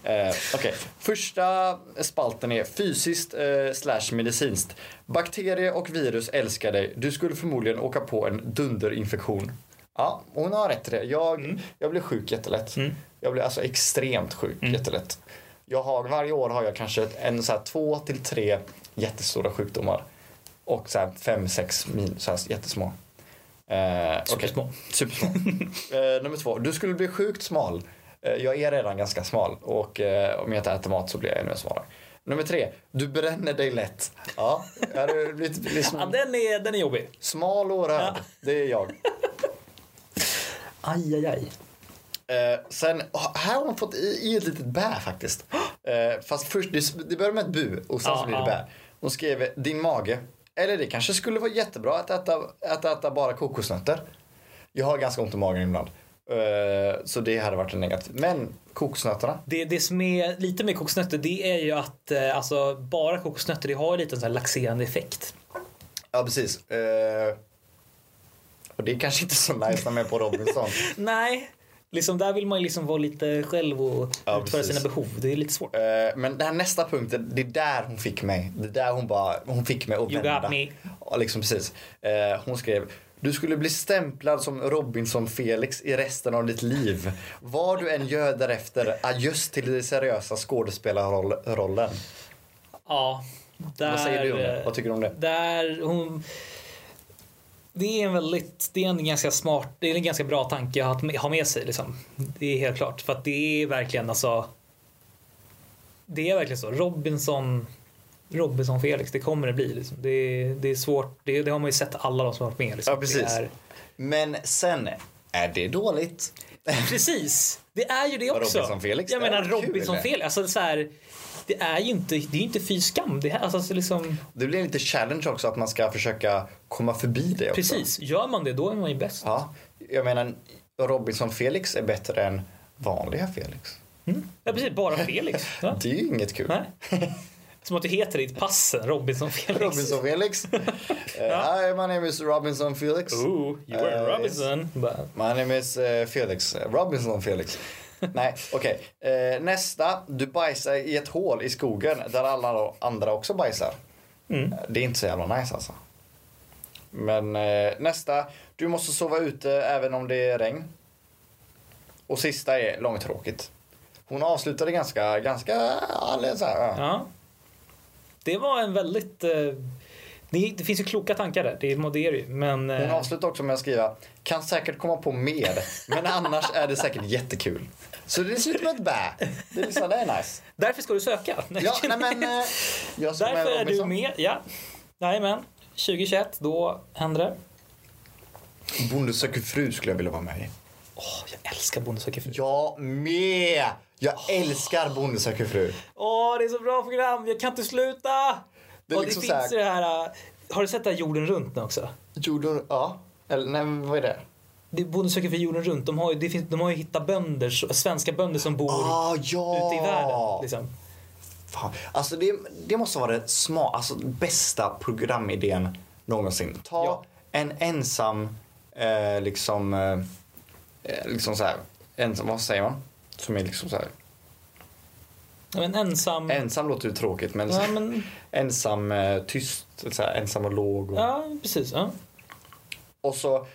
Speaker 2: eh, okej. Första spalten är fysiskt eh, slash medicinskt. Bakterier och virus älskar dig. Du skulle förmodligen åka på en dunderinfektion. Ja, hon har rätt i det. Jag,
Speaker 3: Mm.
Speaker 2: jag blir sjuk jättelätt. Jag blir alltså extremt sjuk
Speaker 3: Mm.
Speaker 2: jättelätt. Jag har, varje år har jag kanske ett- en så här, två till tre jättestora sjukdomar. Och så här, fem, sex min, så här, jättesmå. Eh,
Speaker 3: Supersmå.
Speaker 2: okej. Supersmå. eh, nummer två. Du skulle bli sjukt smal. Eh, jag är redan ganska smal och eh, om jag inte äter mat så blir jag ännu smalare. Nummer tre. Du bränner dig lätt. Ja, är du lite,
Speaker 3: Ja,
Speaker 2: liksom,
Speaker 3: den, är, den är jobbig.
Speaker 2: smal och röd. Det är jag.
Speaker 3: Aj, aj, aj.
Speaker 2: Eh, sen, oh, här har hon fått i, i ett litet bä faktiskt. Eh, fast först, det, det börjar med ett bu och sen
Speaker 3: Ja,
Speaker 2: så blir det
Speaker 3: ja.
Speaker 2: bä. Hon skrev din mage. Eller det kanske skulle vara jättebra att äta, att äta bara kokosnötter. Jag har ganska ont i magen ibland. Eh, så det hade varit en negativ. Men kokosnötterna.
Speaker 3: Det, det som är lite med kokosnötter det är ju att eh, alltså, bara kokosnötter det har ju lite en sån här laxerande effekt.
Speaker 2: Ja precis. Eh, och det är kanske inte så nice när man är på Robinson.
Speaker 3: Nej, liksom, där vill man ju liksom vara lite själv och
Speaker 2: Ja,
Speaker 3: utföra
Speaker 2: precis.
Speaker 3: sina behov. Det är lite svårt.
Speaker 2: Eh, Men den här nästa punkten, det är där hon fick mig. Det är där hon bara, hon fick mig att
Speaker 3: You got
Speaker 2: vända.
Speaker 3: me.
Speaker 2: Ja, liksom precis. Eh, Hon skrev, du skulle bli stämplad som Robinson-Felix i resten av ditt liv. Vad du än gör därefter, adjöss till den seriösa skådespelarrollen.
Speaker 3: Ja, där,
Speaker 2: Vad säger du om det?
Speaker 3: eh,
Speaker 2: Vad tycker du om det?
Speaker 3: Där hon... Det är en väldigt, det är en ganska smart, det är en ganska bra tanke att ha med sig liksom. Det är helt klart. För att det är verkligen alltså. Det är verkligen så. Robinson, Robinson Felix, det kommer det bli. Liksom. Det, är- det är svårt, det, det har man ju sett alla de som har varit med. Liksom.
Speaker 2: Ja, precis.
Speaker 3: Det är,
Speaker 2: Men sen, är det dåligt? <laughs>
Speaker 3: precis, det är ju det också.
Speaker 2: Robinson Felix,
Speaker 3: Jag
Speaker 2: det
Speaker 3: menar
Speaker 2: var kul.
Speaker 3: Robinson Felix, alltså så här, det är ju inte, det är ju inte fy skam. Det, här, alltså, så liksom,
Speaker 2: Det blir lite challenge också att man ska försöka komma förbi det också.
Speaker 3: precis, gör man det då är man ju bäst.
Speaker 2: Ja, jag menar, Robinson-Felix är bättre än vanliga Felix.
Speaker 3: Ja precis, bara Felix. Ja.
Speaker 2: <laughs> Det är ju inget kul.
Speaker 3: Nej. Som att du heter i ditt pass Robinson Felix. <laughs>
Speaker 2: Robinson Felix. uh, hi, my name is Robinson Felix.
Speaker 3: Ooh, you were
Speaker 2: Eh,
Speaker 3: Robinson. Bara,
Speaker 2: My name is eh, Felix.
Speaker 3: <laughs>
Speaker 2: Robinson Felix. Nej, okej. Eh, nästa. Du bajsar i ett hål i skogen där alla andra också bajsar.
Speaker 3: Mm.
Speaker 2: Eh, Det är inte så jävla nice alltså. Men eh, nästa. Du måste sova ute även om det är regn. Och sista är långtråkigt. Hon avslutade ganska, ganska, alldeles så här. ja.
Speaker 3: Ja. Det var en väldigt... eh, Det, det finns ju kloka tankar där, det, är- det är det ju. Men,
Speaker 2: Hon
Speaker 3: eh,
Speaker 2: avslutar också med att skriva kan säkert komma på mer, men annars är det säkert jättekul. Så det slutar med ett bä. Det är, liksom, det är nice.
Speaker 3: därför ska du <laughs> söka.
Speaker 2: Ja, nej men. eh, Jag ska
Speaker 3: Därför är du
Speaker 2: Robinson.
Speaker 3: med. Ja. Jajamän. 2021, då händer det.
Speaker 2: Bonde söker fru skulle jag vilja vara med i.
Speaker 3: Åh, jag älskar Bonde söker fru.
Speaker 2: Jag med! Jag älskar Bonde söker fru.
Speaker 3: Åh, det är så bra program. Jag kan inte sluta.
Speaker 2: Det
Speaker 3: Det,
Speaker 2: är
Speaker 3: och
Speaker 2: liksom
Speaker 3: det
Speaker 2: så här-
Speaker 3: finns ju det här. äh, Har du sett det här jorden runt nu också?
Speaker 2: Jorden, ja. Eller nej, men vad är det?
Speaker 3: Det är Bonde söker fru jorden runt. De har ju, det finns, de har ju hittat bönder, så- svenska bönder som bor
Speaker 2: Ah, ja!
Speaker 3: ute i världen. Liksom.
Speaker 2: Fan. Alltså det, det måste vara det sma, alltså bästa programidén någonsin. Ta
Speaker 3: Ja.
Speaker 2: en ensam, eh, liksom, eh, eh, liksom så här, ensam, vad säger man? Som är liksom så här.
Speaker 3: Ja, men ensam...
Speaker 2: Ensam låter ju tråkigt men,
Speaker 3: Mm. Ja, men
Speaker 2: ensam, eh, tyst, så här, ensam och låg. Och,
Speaker 3: ja, precis. Ja.
Speaker 2: och så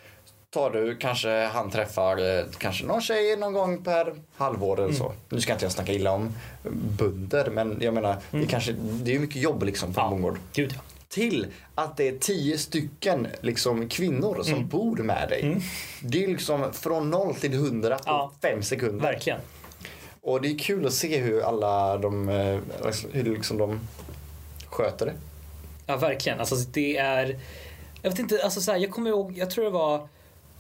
Speaker 2: tar du, kanske han träffar eh, kanske någon tjej någon gång per halvår
Speaker 3: Mm.
Speaker 2: eller så. Nu ska inte jag snacka illa om bunder men jag menar, det, kanske, det är ju mycket jobb liksom på en bondgård.
Speaker 3: Gud, Mm. ja.
Speaker 2: till att det är tio stycken liksom, kvinnor som
Speaker 3: Mm.
Speaker 2: bor med dig. Det är liksom från noll till hundra på
Speaker 3: Ja.
Speaker 2: fem sekunder.
Speaker 3: Verkligen.
Speaker 2: Och det är kul att se hur alla de, eh, alltså, hur liksom de sköter det.
Speaker 3: Ja, verkligen. Alltså, det är... Jag vet inte, alltså, så här, jag kommer ihåg, jag tror det var, det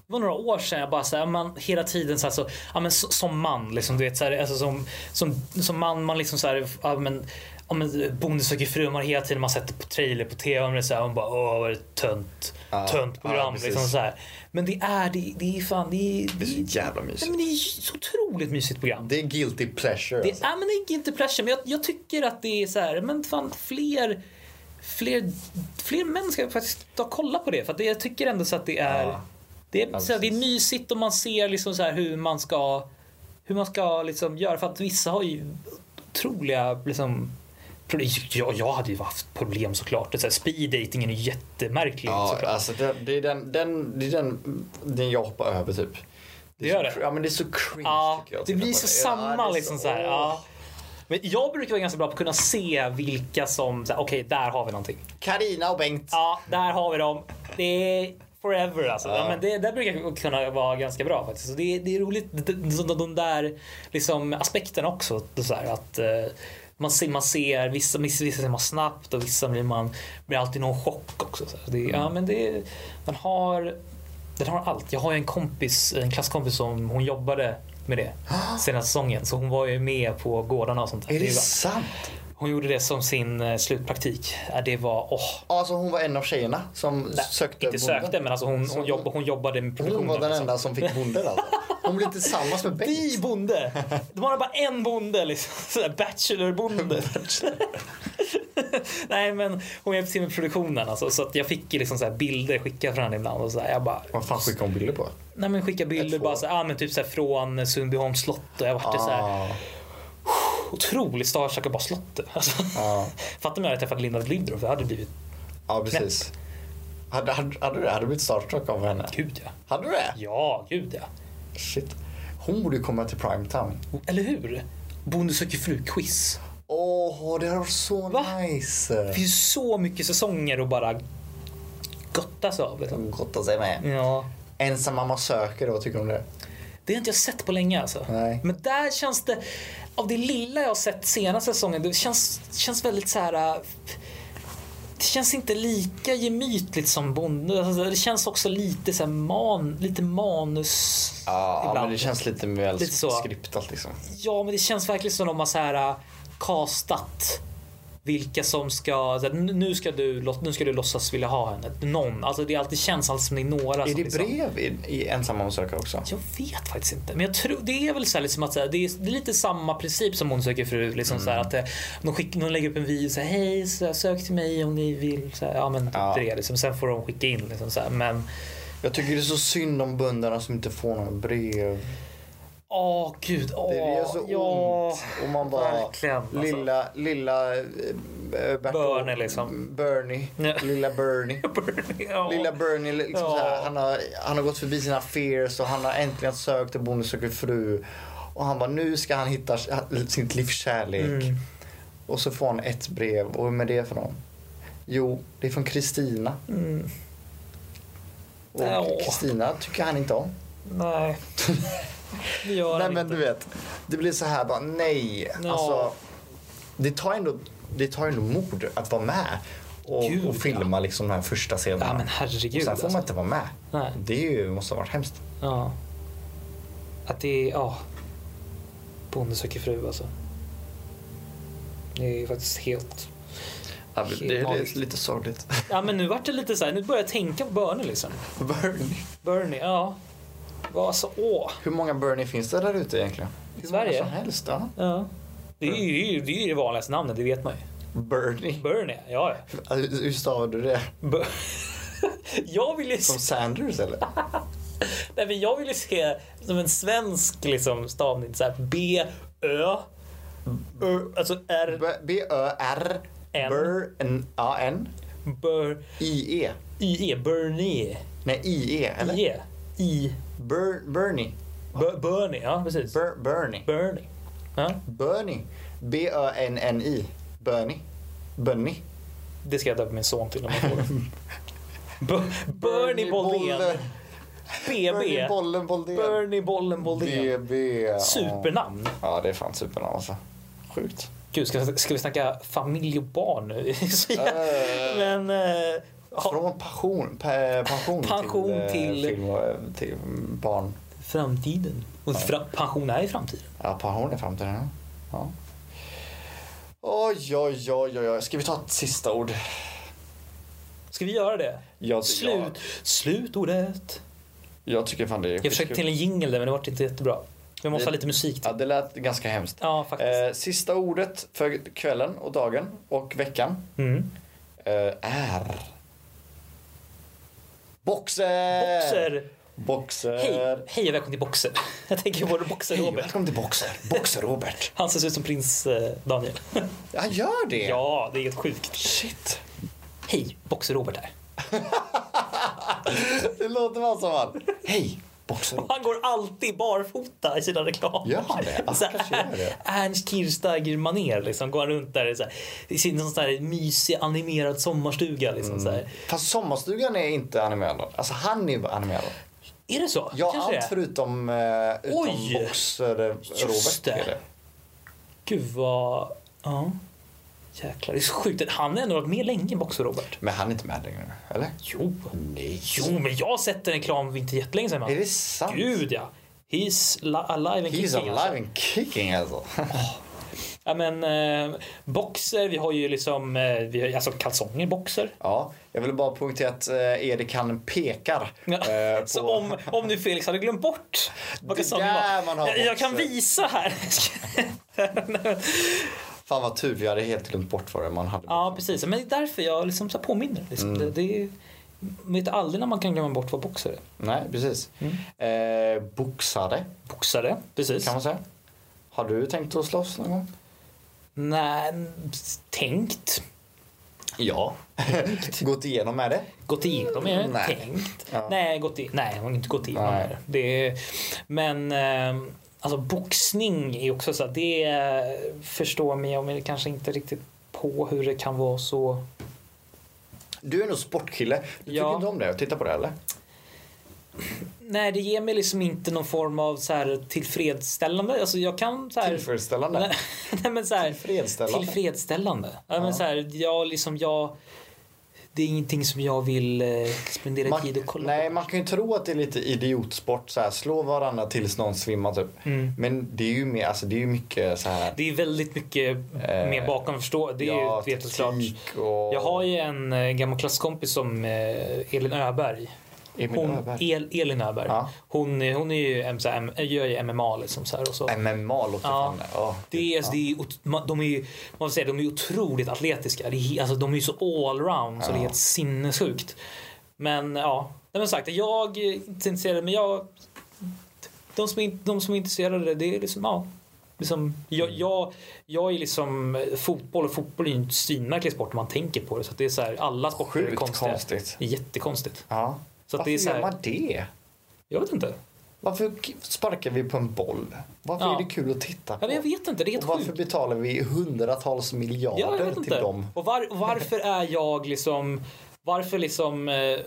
Speaker 3: var några år sedan jag bara så här, man hela tiden så, här, så ja, men, så, som man liksom, du vet så här, alltså, som, som, som man, man liksom så här, ja, men, ja, men, Bonde söker fru, man hela tiden man sätter på trailer på tv och man är så här, man bara åh vad är det tönt,
Speaker 2: Ja,
Speaker 3: tönt
Speaker 2: ja,
Speaker 3: program
Speaker 2: precis.
Speaker 3: liksom så här. Men det är, det, det är fan, det är,
Speaker 2: Det är så jävla
Speaker 3: Nej,
Speaker 2: mysigt.
Speaker 3: men det är så otroligt mysigt program.
Speaker 2: Det är guilty pleasure.
Speaker 3: Det,
Speaker 2: alltså.
Speaker 3: ja, men det är inte pleasure, men jag, jag tycker att det är så här, men fan fler, fler, fler män ska faktiskt ta och kolla på det. För att det, jag tycker ändå så att det är,
Speaker 2: Ja.
Speaker 3: det, är, så här, det är
Speaker 2: precis.
Speaker 3: mysigt om man ser liksom så här hur man ska, hur man ska liksom göra. För att vissa har ju otroliga liksom, problem. Jag, jag hade ju haft problem såklart. Det är Så här, speed dating är ju jättemärklig
Speaker 2: Ja,
Speaker 3: såklart.
Speaker 2: alltså det, det är, den, den, det är den, den jag hoppar över typ.
Speaker 3: Det gör
Speaker 2: så,
Speaker 3: det.
Speaker 2: cr- Ja men det är så cringe
Speaker 3: Ja,
Speaker 2: tycker jag. att
Speaker 3: det
Speaker 2: titta
Speaker 3: blir
Speaker 2: på
Speaker 3: så
Speaker 2: det.
Speaker 3: samma
Speaker 2: Ja, det är
Speaker 3: liksom så här.
Speaker 2: åh.
Speaker 3: Ja. Men jag brukar vara ganska bra på att kunna se vilka som, så här, okej där har vi någonting.
Speaker 2: Carina och Bengt.
Speaker 3: Ja, där har vi dem. Det är forever alltså.
Speaker 2: Ja.
Speaker 3: Men det, där brukar jag kunna vara ganska bra faktiskt. Så det, det är roligt, de, de, de där liksom, aspekterna också. Det är Så här, att, eh, man ser, man ser vissa, vissa vissa ser man snabbt och vissa blir man blir alltid någon chock också. Så här. det,
Speaker 2: Mm.
Speaker 3: ja, men det, man har, den har allt. Jag har ju en kompis, en klasskompis som hon jobbade med
Speaker 2: <gasps>
Speaker 3: det senaste säsongen. Så hon var ju med på gårdarna och sånt där.
Speaker 2: Är
Speaker 3: Det
Speaker 2: det
Speaker 3: var-
Speaker 2: sant?
Speaker 3: Hon gjorde det som sin eh, slutpraktik. Ja, Det var, åh,
Speaker 2: Alltså hon var en av tjejerna som sökte
Speaker 3: inte
Speaker 2: bonden.
Speaker 3: sökte men alltså hon,
Speaker 2: Så-
Speaker 3: hon, jobb, hon jobbade med
Speaker 2: Hon
Speaker 3: produktionen.
Speaker 2: var den
Speaker 3: liksom.
Speaker 2: enda som fick bonden alltså. Hon blev tillsammans med Bengt.
Speaker 3: Vi bonde! De har bara en bonde liksom. <laughs> Sådär bachelorbonde. <laughs> Nej men hon hjälpte till med produktionen alltså, så att jag fick ju liksom såhär bilder skickade från henne ibland och sådär. Jag bara,
Speaker 2: Vad fan skickade hon bilder på?
Speaker 3: nej men skicka bilder
Speaker 2: Ett
Speaker 3: bara
Speaker 2: två.
Speaker 3: såhär, ah, men typ såhär från Sundbyholms slott och jag vart ah. såhär
Speaker 2: Ah,
Speaker 3: otroligt starstruck och bara slottet. <laughs> Alltså,
Speaker 2: ah,
Speaker 3: Fattar om jag hade träffat Linda Lindorff, jag hade blivit,
Speaker 2: ah, precis. Hade, hade, hade du det? Hade du blivit starstruck av henne?
Speaker 3: gud ja.
Speaker 2: Hade du det?
Speaker 3: Ja, gud ja.
Speaker 2: Shit. Hon borde ju komma till primetime.
Speaker 3: Eller hur? Bonde söker fru-quiz.
Speaker 2: Åh, det hade varit så
Speaker 3: Va?
Speaker 2: nice.
Speaker 3: Det finns ju så mycket säsonger att bara gotta sig av. Liksom.
Speaker 2: Gotta sig med.
Speaker 3: Ja.
Speaker 2: Ensam mamma söker, vad tycker du om det?
Speaker 3: Det har inte jag sett på länge alltså.
Speaker 2: Nej.
Speaker 3: Men där känns det, av det lilla jag har sett senaste säsongen, det känns, känns väldigt så här. äh, Det känns inte lika gemytligt som Bonde. Alltså, det känns också lite, så här man, lite manus
Speaker 2: Ja,
Speaker 3: ibland.
Speaker 2: men det känns lite väl
Speaker 3: Lite så.
Speaker 2: skriptat liksom.
Speaker 3: Ja, men det känns verkligen som de har så här äh, castat vilka som ska, så här, nu nu ska du, lå- nu ska du låtsas vilja ha henne. Någon, alltså det alltid känns alltid som det är några
Speaker 2: Är
Speaker 3: som
Speaker 2: det
Speaker 3: liksom-
Speaker 2: brev i, i Ensam mamma söker också?
Speaker 3: Jag vet faktiskt inte. Men jag tror, det är väl så här liksom att så här, det, är, det är lite samma princip som hon söker fru. Liksom så här
Speaker 2: Mm.
Speaker 3: att eh, de, skick, de lägger upp en video och säger hej, så här, sök till mig om ni vill. Så här, ja men typ
Speaker 2: Ja.
Speaker 3: det. Liksom. Sen får de skicka in. Liksom, så här. Men
Speaker 2: Jag tycker det är så synd om bönderna som inte får några brev.
Speaker 3: åh gud, åh.
Speaker 2: Det gör så
Speaker 3: ja,
Speaker 2: ont. Och man bara,
Speaker 3: verkligen, alltså.
Speaker 2: lilla, lilla eh, Bertol-
Speaker 3: Bernie, liksom.
Speaker 2: Bernie.
Speaker 3: Ja.
Speaker 2: Lilla
Speaker 3: <laughs>
Speaker 2: Bernie.
Speaker 3: ja.
Speaker 2: Lilla Bernie, liksom
Speaker 3: Ja.
Speaker 2: så här, han, har, han har gått förbi sina fears och han har äntligen sökt en bonde söker fru. Och han bara, nu ska han hitta sitt livs kärlek.
Speaker 3: Mm.
Speaker 2: Och så får han ett brev och vem är det för någon? Jo, det är från Kristina.
Speaker 3: Mm.
Speaker 2: Och
Speaker 3: Åh.
Speaker 2: Kristina tycker han inte om.
Speaker 3: Nej. <laughs> Det gör
Speaker 2: Nej
Speaker 3: han
Speaker 2: men
Speaker 3: inte.
Speaker 2: du vet, det blir så här bara nej.
Speaker 3: Ja.
Speaker 2: Alltså, det tar ändå, det tar ändå mod att vara med och,
Speaker 3: Gud,
Speaker 2: och filma liksom den här första scenen.
Speaker 3: Ja men
Speaker 2: och
Speaker 3: herregud. alltså.
Speaker 2: sen får man inte vara med.
Speaker 3: Nej.
Speaker 2: Det är ju, måste ha varit hemskt.
Speaker 3: Ja. Att det är, ja. Bonde söker fru alltså. Det är ju faktiskt helt...
Speaker 2: Det är lite, lite sorgligt.
Speaker 3: Ja men nu vart det lite så här, nu börjar jag tänka på Bernie liksom.
Speaker 2: <laughs> Bernie.
Speaker 3: Bernie, ja. Vad så, åh.
Speaker 2: Hur många Bernie finns det där ute egentligen?
Speaker 3: I
Speaker 2: Hur många
Speaker 3: Sverige?
Speaker 2: som helst, ja.
Speaker 3: Ja. Det är, ju, det, är ju, det är ju det vanligaste namnet, det vet man ju.
Speaker 2: Bernie.
Speaker 3: Bernie, ja. ja.
Speaker 2: Alltså, Hur stavar du det?
Speaker 3: Ber- <laughs> jag vill ju
Speaker 2: Som
Speaker 3: se,
Speaker 2: Sanders eller?
Speaker 3: nej, men jag vill ju se som en svensk liksom, stavning, så här B, Ö, Ö, alltså R,
Speaker 2: B- B-Ö-R.
Speaker 3: N.
Speaker 2: Bern-A-N.
Speaker 3: Bör,
Speaker 2: I-E.
Speaker 3: I, E, Bernie.
Speaker 2: Nej, I-E. Eller?
Speaker 3: I, E, I,
Speaker 2: Ber- Bernie.
Speaker 3: Ber- Bernie, ja precis.
Speaker 2: Ber- Bernie.
Speaker 3: Bernie. Ja,
Speaker 2: Bernie. B-Ö-N-N-I. Bernie. Bernie.
Speaker 3: det ska jag döpa min son till om jag
Speaker 2: <laughs>
Speaker 3: får den. Ber- Bernie Boldén.
Speaker 2: Bernie
Speaker 3: BB.
Speaker 2: Bollen Boldén.
Speaker 3: Bernie Bollen Boldén.
Speaker 2: BB. ja.
Speaker 3: Supernamn.
Speaker 2: Ja, det är fan supernamn alltså. Sjukt.
Speaker 3: Gud, ska, ska vi snacka familj och barn nu? <laughs> Så jag-
Speaker 2: Eh.
Speaker 3: Men... eh, ha,
Speaker 2: Från passion, pe- pension,
Speaker 3: Pension
Speaker 2: till,
Speaker 3: till-
Speaker 2: eh, film och, eh, till barn.
Speaker 3: framtiden. Och fra, pension är i framtiden.
Speaker 2: Ja, pension är framtiden. ja. Ja. Oj, oj, oj, oj, oj. Ska vi ta ett sista ord?
Speaker 3: Ska vi göra det?
Speaker 2: Jag,
Speaker 3: Slut. Slutordet.
Speaker 2: Jag, jag tycker fan det är
Speaker 3: Jag försökte till en jingle där men det vart inte jättebra. Vi måste ha lite musik
Speaker 2: Ja,
Speaker 3: till.
Speaker 2: det lät ganska hemskt.
Speaker 3: Ja, faktiskt.
Speaker 2: Eh, sista ordet för kvällen och dagen och veckan
Speaker 3: Mm.
Speaker 2: eh, är... Boxer!
Speaker 3: Boxer.
Speaker 2: Eh. Boxer!
Speaker 3: Hej, hej och välkommen till Boxer. <laughs> Jag tänker på Boxer
Speaker 2: Hej,
Speaker 3: Robert.
Speaker 2: välkommen till Boxer! Boxer-Robert!
Speaker 3: Han ser ut som prins eh, Daniel.
Speaker 2: Han gör det!
Speaker 3: <laughs> Ja, det är helt sjukt.
Speaker 2: Shit!
Speaker 3: Hej, Boxer Robert här.
Speaker 2: Det låter man som han. Hej, boxer.
Speaker 3: Han går alltid barfota i sina reklamer.
Speaker 2: Gör han det?
Speaker 3: <laughs>
Speaker 2: Ja,
Speaker 3: Så
Speaker 2: kanske
Speaker 3: här,
Speaker 2: gör det.
Speaker 3: Ernst kirchsteiger manér liksom. Går han runt där i så här, i sin sån här mysig animerad sommarstuga. Liksom,
Speaker 2: Mm.
Speaker 3: så här.
Speaker 2: Fast Sommarstugan är inte animerad. Alltså han är ju animerad.
Speaker 3: Är det så?
Speaker 2: Ja,
Speaker 3: Kanske
Speaker 2: allt
Speaker 3: det.
Speaker 2: förutom, eh, utom
Speaker 3: Oj!
Speaker 2: boxer eh, Robert.
Speaker 3: det.
Speaker 2: är det.
Speaker 3: Gud vad... Ja. Jäklar, det är så sjukt. Han har ändå varit med länge, Boxer Robert.
Speaker 2: Men han är inte med längre nu, eller?
Speaker 3: Jo.
Speaker 2: Nej.
Speaker 3: Jo, men jag har sett en reklam för inte jättelänge sedan. man.
Speaker 2: Är det sant?
Speaker 3: Gud ja. He's li- alive and kicking.
Speaker 2: He's
Speaker 3: alltså.
Speaker 2: alive and kicking alltså. <laughs>
Speaker 3: Ja, men, eh, boxer, vi har ju liksom eh, vi har, alltså kalsonger, boxer.
Speaker 2: ja, jag ville bara poängtera att eh, Erik han pekar.
Speaker 3: Ja, <laughs>
Speaker 2: eh, på...
Speaker 3: Så om, om nu Felix hade glömt bort vad
Speaker 2: Det
Speaker 3: kalsongen
Speaker 2: där
Speaker 3: var.
Speaker 2: man har
Speaker 3: jag, jag kan
Speaker 2: boxer.
Speaker 3: visa här. <laughs>
Speaker 2: Fan vad tur, vi hade helt glömt bort vad det man hade.
Speaker 3: ja, precis. Men det är därför jag liksom så här påminner. Liksom.
Speaker 2: Mm.
Speaker 3: Det, det är, man vet aldrig när man kan glömma bort vad boxer är.
Speaker 2: Nej, precis.
Speaker 3: Mm.
Speaker 2: Eh, boxare,
Speaker 3: Boxare, precis.
Speaker 2: kan man säga. Har du tänkt att slåss någon gång?
Speaker 3: Nej, tänkt.
Speaker 2: Ja. <laughs> Gått igenom med det.
Speaker 3: Gått igenom med det.
Speaker 2: Nej.
Speaker 3: Tänkt.
Speaker 2: Ja.
Speaker 3: Nej, gått i, nej, jag har inte gått igenom
Speaker 2: Nej.
Speaker 3: med det. det. är- Men eh, alltså boxning är också så här, det eh, förstår mig om jag kanske inte riktigt på hur det kan vara så
Speaker 2: Du är nog sportkille. Du
Speaker 3: Ja.
Speaker 2: tycker inte om det att titta på det eller?
Speaker 3: Nej, det ger mig liksom inte någon form av så här tillfredsställande. Alltså jag kan så här...
Speaker 2: Tillfredsställande.
Speaker 3: <laughs> Nej, men så här,
Speaker 2: Tillfredsställande.
Speaker 3: Tillfredsställande. Ja, men så här, jag liksom, jag... Det är ingenting som jag vill eh, spendera
Speaker 2: Man,
Speaker 3: tid och kolla
Speaker 2: nej,
Speaker 3: på.
Speaker 2: man kan ju tro att det är lite idiotsport. Så här, slå varandra tills någon svimmar typ.
Speaker 3: Mm.
Speaker 2: Men det är ju, mer, alltså, det är ju mycket så här.
Speaker 3: Det är väldigt mycket
Speaker 2: Eh,
Speaker 3: mer bakom förstå. Det är
Speaker 2: ja,
Speaker 3: ju vet såklart.
Speaker 2: taktik och-
Speaker 3: Jag har ju en eh, gammal klasskompis som eh, Elin Öberg.
Speaker 2: Emil
Speaker 3: Hon, E-
Speaker 2: Öberg.
Speaker 3: El, Elin Öberg.
Speaker 2: Ja.
Speaker 3: Hon, är- hon är ju, en så här, gör ju MMA liksom så här och så.
Speaker 2: MMA låter
Speaker 3: Ja.
Speaker 2: fan... ja. typ.
Speaker 3: Det är, alltså, det är, ot- ma- de är ju man får säga, de är ju otroligt atletiska. Det är, he- alltså, de är ju så allround så det är helt sinnessjukt. Men ja, Nej, men sagt, jag är inte intresserad men jag... De som är, in- de som är intresserade, det är liksom, ja. Liksom, jag,
Speaker 2: Mm.
Speaker 3: jag, jag är liksom fotboll och fotboll är ju en svinmärklig sport om man tänker på det. Så att det är så här, alla sporter är
Speaker 2: Sjukt
Speaker 3: konstiga.
Speaker 2: konstigt.
Speaker 3: Det är jättekonstigt.
Speaker 2: Ja.
Speaker 3: Så att
Speaker 2: Varför
Speaker 3: det är så här-
Speaker 2: gör man det?
Speaker 3: Jag vet inte.
Speaker 2: Varför sparkar vi på en boll? Varför
Speaker 3: Ja.
Speaker 2: är det kul att titta på?
Speaker 3: Eller jag vet inte, det är helt
Speaker 2: och varför
Speaker 3: sjukt.
Speaker 2: betalar vi hundratals
Speaker 3: Ja, jag
Speaker 2: miljarder
Speaker 3: vet
Speaker 2: till
Speaker 3: inte.
Speaker 2: dem?
Speaker 3: Och, var, och varför är jag liksom... Varför liksom eh,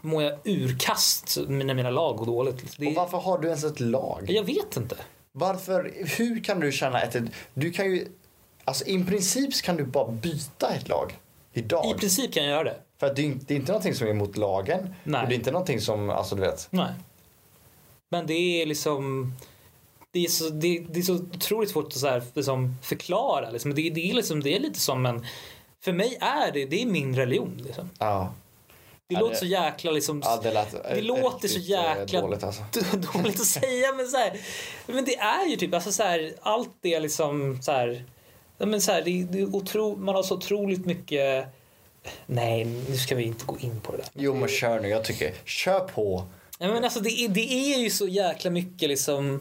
Speaker 3: mår jag urkast när mina lag går dåligt? Det,
Speaker 2: Och varför har du ens ett lag?
Speaker 3: jag vet inte.
Speaker 2: Varför, hur kan du känna ett... Du kan ju... Alltså i princip så kan du bara byta ett lag
Speaker 3: I
Speaker 2: idag.
Speaker 3: princip kan jag göra det.
Speaker 2: För att det är, inte- det är inte någonting som är emot lagen.
Speaker 3: Nej.
Speaker 2: Och det är inte någonting som, alltså du vet.
Speaker 3: Nej. Men det är liksom... Det är så, det, det är så otroligt svårt att så här, liksom, förklara. Liksom. Det, det, är liksom, det är lite som en... För mig är det, det är min religion. Liksom.
Speaker 2: Ja.
Speaker 3: Det
Speaker 2: Ja,
Speaker 3: låter
Speaker 2: det-
Speaker 3: så jäkla... Liksom,
Speaker 2: ja det lät,
Speaker 3: det låter så
Speaker 2: riktigt, eh,
Speaker 3: jäkla
Speaker 2: Dåligt alltså.
Speaker 3: <laughs> dåligt att säga men så här, men det är ju typ alltså så här, allt det liksom så här, ja, men så här det, det är otro, man har så otroligt mycket Nej, nu ska vi inte gå in på det där.
Speaker 2: Jo men kör nu, jag tycker, kör på.
Speaker 3: Nej, men alltså, det, är, det är ju så jäkla mycket liksom...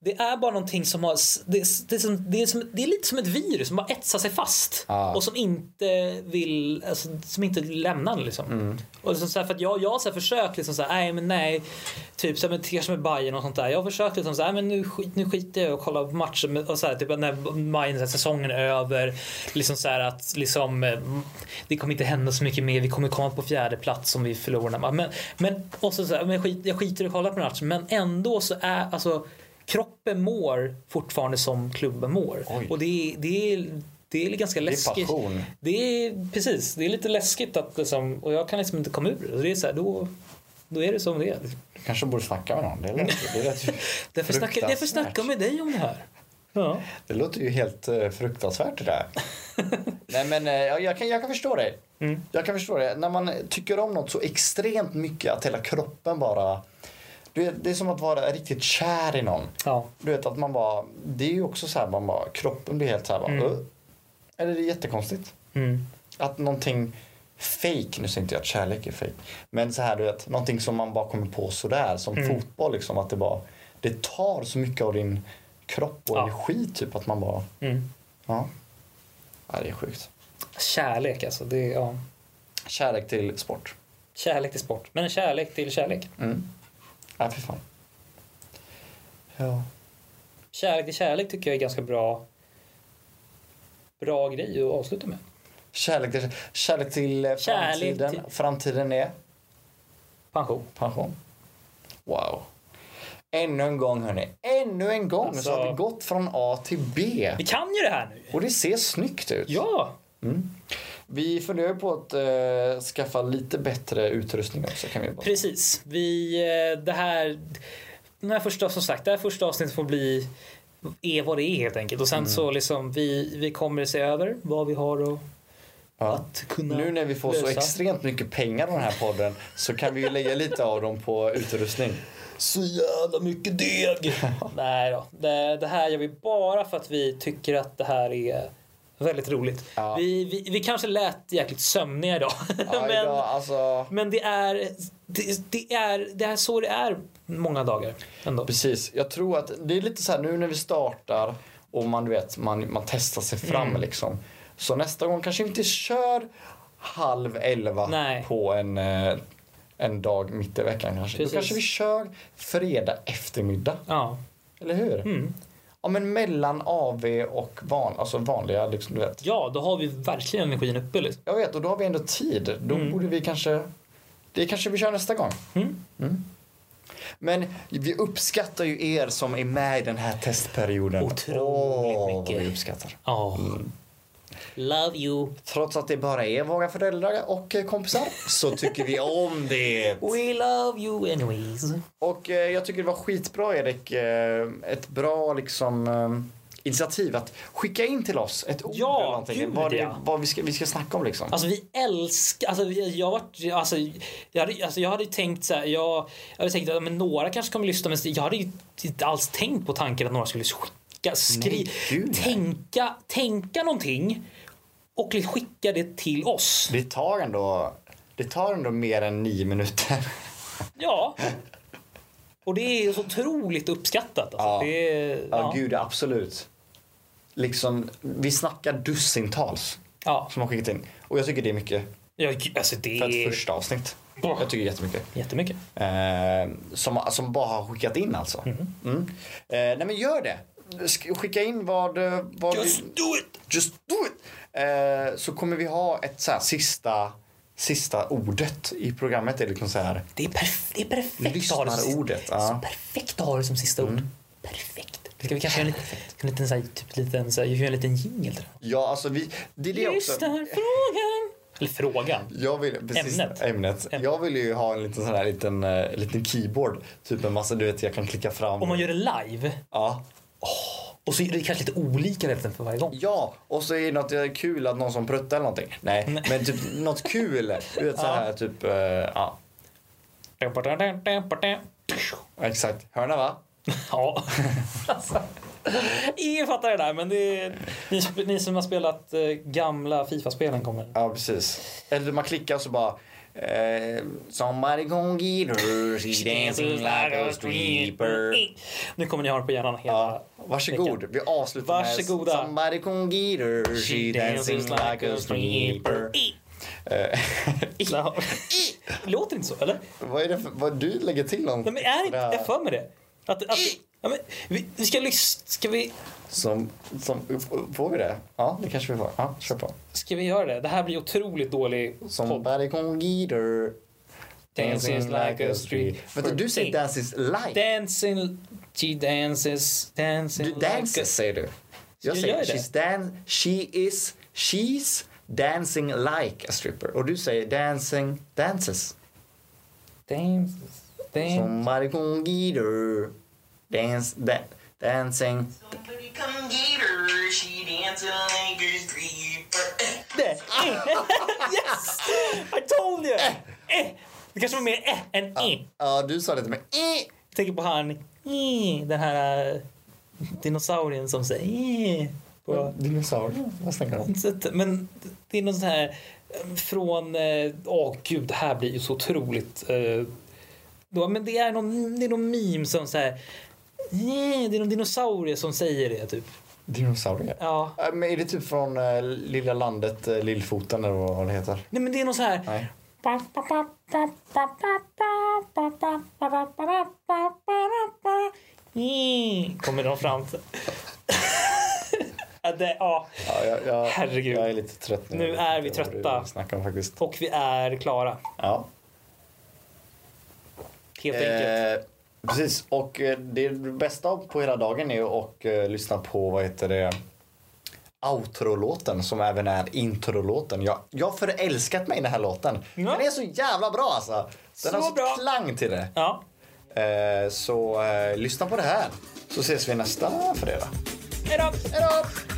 Speaker 3: Det är bara någonting som har... Det, det, är, som, det, är, som, det är lite som ett virus som bara etsar sig fast
Speaker 2: Ja.
Speaker 3: och som inte vill... Alltså, som inte lämnar en, liksom. Och liksom så här, för att jag, jag har så här försökt liksom så här, nej men nej. Typ så här, men det kanske med Bayern och sånt där. Jag har försökt liksom så här, men nu, skit, nu skiter jag i att kolla på matcher med, och så här, typ när Bayern, så här, säsongen är över. Liksom så här att liksom eh, det kommer inte hända så mycket mer. Vi kommer komma på fjärde plats om vi förlorar. den här matchen. Men, men och så, så här, men skit, jag skiter i att kolla på matchen. Men ändå så är alltså kroppen mår fortfarande som klubben mår.
Speaker 2: Oj.
Speaker 3: Och det, är- det är det är ganska
Speaker 2: Det är
Speaker 3: läskigt.
Speaker 2: passion.
Speaker 3: Det är precis, det är lite läskigt att liksom, och jag kan liksom inte komma ur det. Det är så här, då, då är det som det är.
Speaker 2: Du kanske borde snacka med någon. Det lät, det
Speaker 3: <laughs>
Speaker 2: lät ju
Speaker 3: Därför snackar, därför
Speaker 2: fruktansvärt.
Speaker 3: snackar jag med dig om det här. Ja.
Speaker 2: Det låter ju helt eh, fruktansvärt
Speaker 3: <laughs>
Speaker 2: det där. Nej men eh, jag jag kan, jag kan förstå dig.
Speaker 3: Mm.
Speaker 2: Jag kan förstå det. När man tycker om något så extremt mycket att hela kroppen bara... Du vet, det är som att vara riktigt kär i någon.
Speaker 3: ja.
Speaker 2: Du vet att man bara... Det är ju också så här, man bara, kroppen blir helt så här bara... "Ugh." Eller det är jättekonstigt.
Speaker 3: Mm.
Speaker 2: Att någonting fake, nu säger inte jag att kärlek är fake. Men så här du vet, någonting som man bara kommer på sådär som
Speaker 3: Mm.
Speaker 2: fotboll liksom. Att det bara... Det tar så mycket av din kropp och
Speaker 3: Ja.
Speaker 2: energi typ att man bara...
Speaker 3: Mm.
Speaker 2: Ja. ja, det är sjukt.
Speaker 3: Kärlek alltså. Det är, ja.
Speaker 2: Kärlek till sport.
Speaker 3: Kärlek till sport, men en kärlek till kärlek.
Speaker 2: Mm. Ja, fy fan. Ja.
Speaker 3: Kärlek till kärlek tycker jag är ganska bra bra grej att avsluta med.
Speaker 2: Kärlek till, kärlek till eh,
Speaker 3: Kärlek
Speaker 2: framtiden.
Speaker 3: till-
Speaker 2: Framtiden är
Speaker 3: Pension.
Speaker 2: pension. Wow. Ännu en gång, hörni. Ännu en gång
Speaker 3: Alltså-
Speaker 2: så har vi gått från A till B.
Speaker 3: Vi kan ju det här nu.
Speaker 2: Och det ser snyggt ut. Mm.
Speaker 3: Ja,
Speaker 2: Vi funderar på att eh, skaffa lite bättre utrustning också. Kan vi bara...
Speaker 3: Precis. Vi, eh, det här, den här första, som sagt, det här första avsnittet får bli är vad det är helt enkelt. Och sen
Speaker 2: Mm.
Speaker 3: så liksom vi, vi kommer se över vad vi har att,
Speaker 2: Ja.
Speaker 3: att kunna
Speaker 2: Nu när vi får så
Speaker 3: lösa.
Speaker 2: extremt mycket pengar av den här podden så kan vi ju lägga lite av dem
Speaker 3: <laughs>
Speaker 2: på utrustning.
Speaker 3: så jävla mycket deg. <laughs> Nej då. Det, det här gör vi bara för att vi tycker att det här är väldigt roligt.
Speaker 2: Ja.
Speaker 3: Vi, vi, vi kanske lät jäkligt sömniga idag. <laughs>
Speaker 2: Ja,
Speaker 3: men,
Speaker 2: idag, alltså,
Speaker 3: men det, är, det, det, är, det är så det är många dagar ändå.
Speaker 2: precis. Jag tror att det är lite så här nu när vi startar och man du vet, man, man testar sig fram
Speaker 3: Mm.
Speaker 2: liksom. Så nästa gång kanske vi inte kör halv elva
Speaker 3: Nej.
Speaker 2: på en, eh, en dag mitt i veckan kanske.
Speaker 3: Precis.
Speaker 2: Då kanske vi kör fredag eftermiddag.
Speaker 3: Ja.
Speaker 2: Eller hur?
Speaker 3: Mm.
Speaker 2: Ja men mellan AV och van, alltså vanliga liksom du vet.
Speaker 3: Ja, då har vi verkligen energin uppe. Liksom.
Speaker 2: Jag vet och då har vi ändå tid. Då borde vi kanske, det kanske vi kör nästa gång.
Speaker 3: Mm.
Speaker 2: Mm. Men vi uppskattar ju er som är med i den här testperioden.
Speaker 3: Otroligt
Speaker 2: Åh, vad
Speaker 3: mycket.
Speaker 2: vi uppskattar.
Speaker 3: Ja.
Speaker 2: Mm.
Speaker 3: Love you.
Speaker 2: Trots att det bara är våra föräldrar och eh, kompisar så tycker vi
Speaker 3: <laughs>
Speaker 2: om det.
Speaker 3: We love you anyways.
Speaker 2: Och eh, jag tycker det var skitbra Erik, eh, ett bra liksom eh, initiativ att skicka in till oss ett ord
Speaker 3: Ja,
Speaker 2: eller någonting.
Speaker 3: gud,
Speaker 2: vad, det,
Speaker 3: ja.
Speaker 2: vad vi, ska, vi ska snacka om liksom.
Speaker 3: Alltså vi älskar, alltså vi- jag vart, alltså jag hade, alltså, jag hade ju tänkt så här, jag, jag hade tänkt att ja, men några kanske kommer lyssna men jag hade ju inte alls tänkt på tanken att några skulle skicka, skri,
Speaker 2: Nej, gud, nej.
Speaker 3: tänka, tänka någonting och liksom skicka det till oss.
Speaker 2: Det tar ändå, det tar ändå mer än nio minuter.
Speaker 3: <laughs> Ja. Och det är så otroligt uppskattat. Alltså.
Speaker 2: Ja.
Speaker 3: Det är,
Speaker 2: Ja,
Speaker 3: ja.
Speaker 2: gud, absolut. Liksom, vi snackar dussintals
Speaker 3: Ja.
Speaker 2: som har skickat in. Och jag tycker det är mycket
Speaker 3: Ja, gud, alltså det
Speaker 2: för ett
Speaker 3: är...
Speaker 2: första avsnitt. Jag tycker jättemycket.
Speaker 3: Jättemycket.
Speaker 2: Eh, som, som bara har skickat in alltså.
Speaker 3: Mhm.
Speaker 2: Mm. Eh, nej men gör det. Sk- Skicka in vad... eh, vad
Speaker 3: Just
Speaker 2: du,
Speaker 3: do it!
Speaker 2: just do it! Eh, så kommer vi ha ett så här sista, sista ordet i programmet. Eller liksom så här,
Speaker 3: Det är, perf- det är perfekt att ha det som sista,
Speaker 2: lyssnarordet. Ja. Mm.
Speaker 3: perfekt att ha det som sista ord. Perfekt. Ska vi kanske göra en liten, en liten, så här, typ, liten, så här, göra en liten jingel till det?
Speaker 2: ja, alltså vi... Det är det också.
Speaker 3: Lyssnarfrågan! Eller frågan.
Speaker 2: Jag vill, precis,
Speaker 3: Ämnet.
Speaker 2: ämnet. Jag vill ju ha en liten sån här liten, eh, liten keyboard. Typ en massa, du vet jag kan klicka fram.
Speaker 3: Om man gör det live
Speaker 2: Ja.
Speaker 3: och så är det kanske lite olika rätten för varje gång.
Speaker 2: Ja, och så är det något eh, kul att någon som pruttar eller någonting. Nej, men typ något kul. Du vet så här typ, eh, ja. Exakt. Hörna va?
Speaker 3: Ja. <laughs> Alltså, Ingen fattar det där men det är, ni, ni som har spelat eh, gamla Fifa-spelen kommer.
Speaker 2: Ja, precis. Eller man klickar och så bara eh, Somebody gonna get her, she dancing like a stripper.
Speaker 3: Nu kommer ni ha det på hjärnan hela
Speaker 2: Ja, varsågod. Vi avslutar
Speaker 3: Varsågoda.
Speaker 2: med Somebody gonna get her, she dancing like a stripper. Eh, <laughs>
Speaker 3: Så- <laughs> Låter inte så, eller?
Speaker 2: vad är det för, vad du lägger till någon
Speaker 3: Nej, men är det inte,
Speaker 2: extra
Speaker 3: jag för mig det. Att, att, ja, men, vi, vi ska lyssna, ska vi,
Speaker 2: som, som, får vi det? Ja, det kanske vi får. Ja, kör på.
Speaker 3: ska vi göra det? Det här blir otroligt dålig podd.
Speaker 2: Somebody gonna get her.
Speaker 3: Dancing like a street.
Speaker 2: Vänta, du säger dances like.
Speaker 3: Dancing, she dances, dancing
Speaker 2: Du dances
Speaker 3: like a...
Speaker 2: säger du.
Speaker 3: Jag
Speaker 2: Jag
Speaker 3: gör
Speaker 2: säger
Speaker 3: det.
Speaker 2: she's dan she is she's dancing like a stripper och du säger dancing dances.
Speaker 3: Dances, dan-
Speaker 2: Somebody gonna get her. Dance da, dancing.
Speaker 4: Somebody come get her. She dancing like a stripper.
Speaker 3: <laughs> yes! I told you! Eh. Det kanske var mer eh än eh.
Speaker 2: Ja, du sa det till mig. Eh.
Speaker 3: Jag tänker på han, eh, den här eh, dinosaurien som säger eh, på...
Speaker 2: Dinosaur. Vad snackar du om?
Speaker 3: Så att- Men det är någon sån här eh, från... eh, Åh gud, det här blir ju så otroligt... eh, Då, men det är någon, det är någon meme som så här... "Eh", Det är någon dinosaurie som säger det typ.
Speaker 2: Dinosaurier?
Speaker 3: Ja.
Speaker 2: Äh, Men är det typ från eh, Lilla landet, eh, Lillfoten eller vad det heter?
Speaker 3: Nej men det är någon så här...
Speaker 2: Nej.
Speaker 3: "Eh", Kommer de fram till. <laughs> ja, det, ja.
Speaker 2: Ja, jag, jag,
Speaker 3: Herregud.
Speaker 2: Jag är lite trött nu.
Speaker 3: Nu är vi
Speaker 2: Jag vet inte vad
Speaker 3: trötta.
Speaker 2: du Snackar om faktiskt.
Speaker 3: Och vi är klara.
Speaker 2: Ja.
Speaker 3: Helt enkelt.
Speaker 2: Eh, precis, och eh, det bästa på hela dagen är ju att eh, lyssna på, vad heter det, outro-låten som även är intro-låten. Jag, jag har förälskat mig i den här låten.
Speaker 3: Ja.
Speaker 2: Den är så jävla bra alltså. Den
Speaker 3: Så
Speaker 2: har så
Speaker 3: bra.
Speaker 2: klang till det.
Speaker 3: Ja.
Speaker 2: Eh, så eh, lyssna på det här. Så ses vi nästa fredag.
Speaker 3: Hej då!
Speaker 2: Hej då!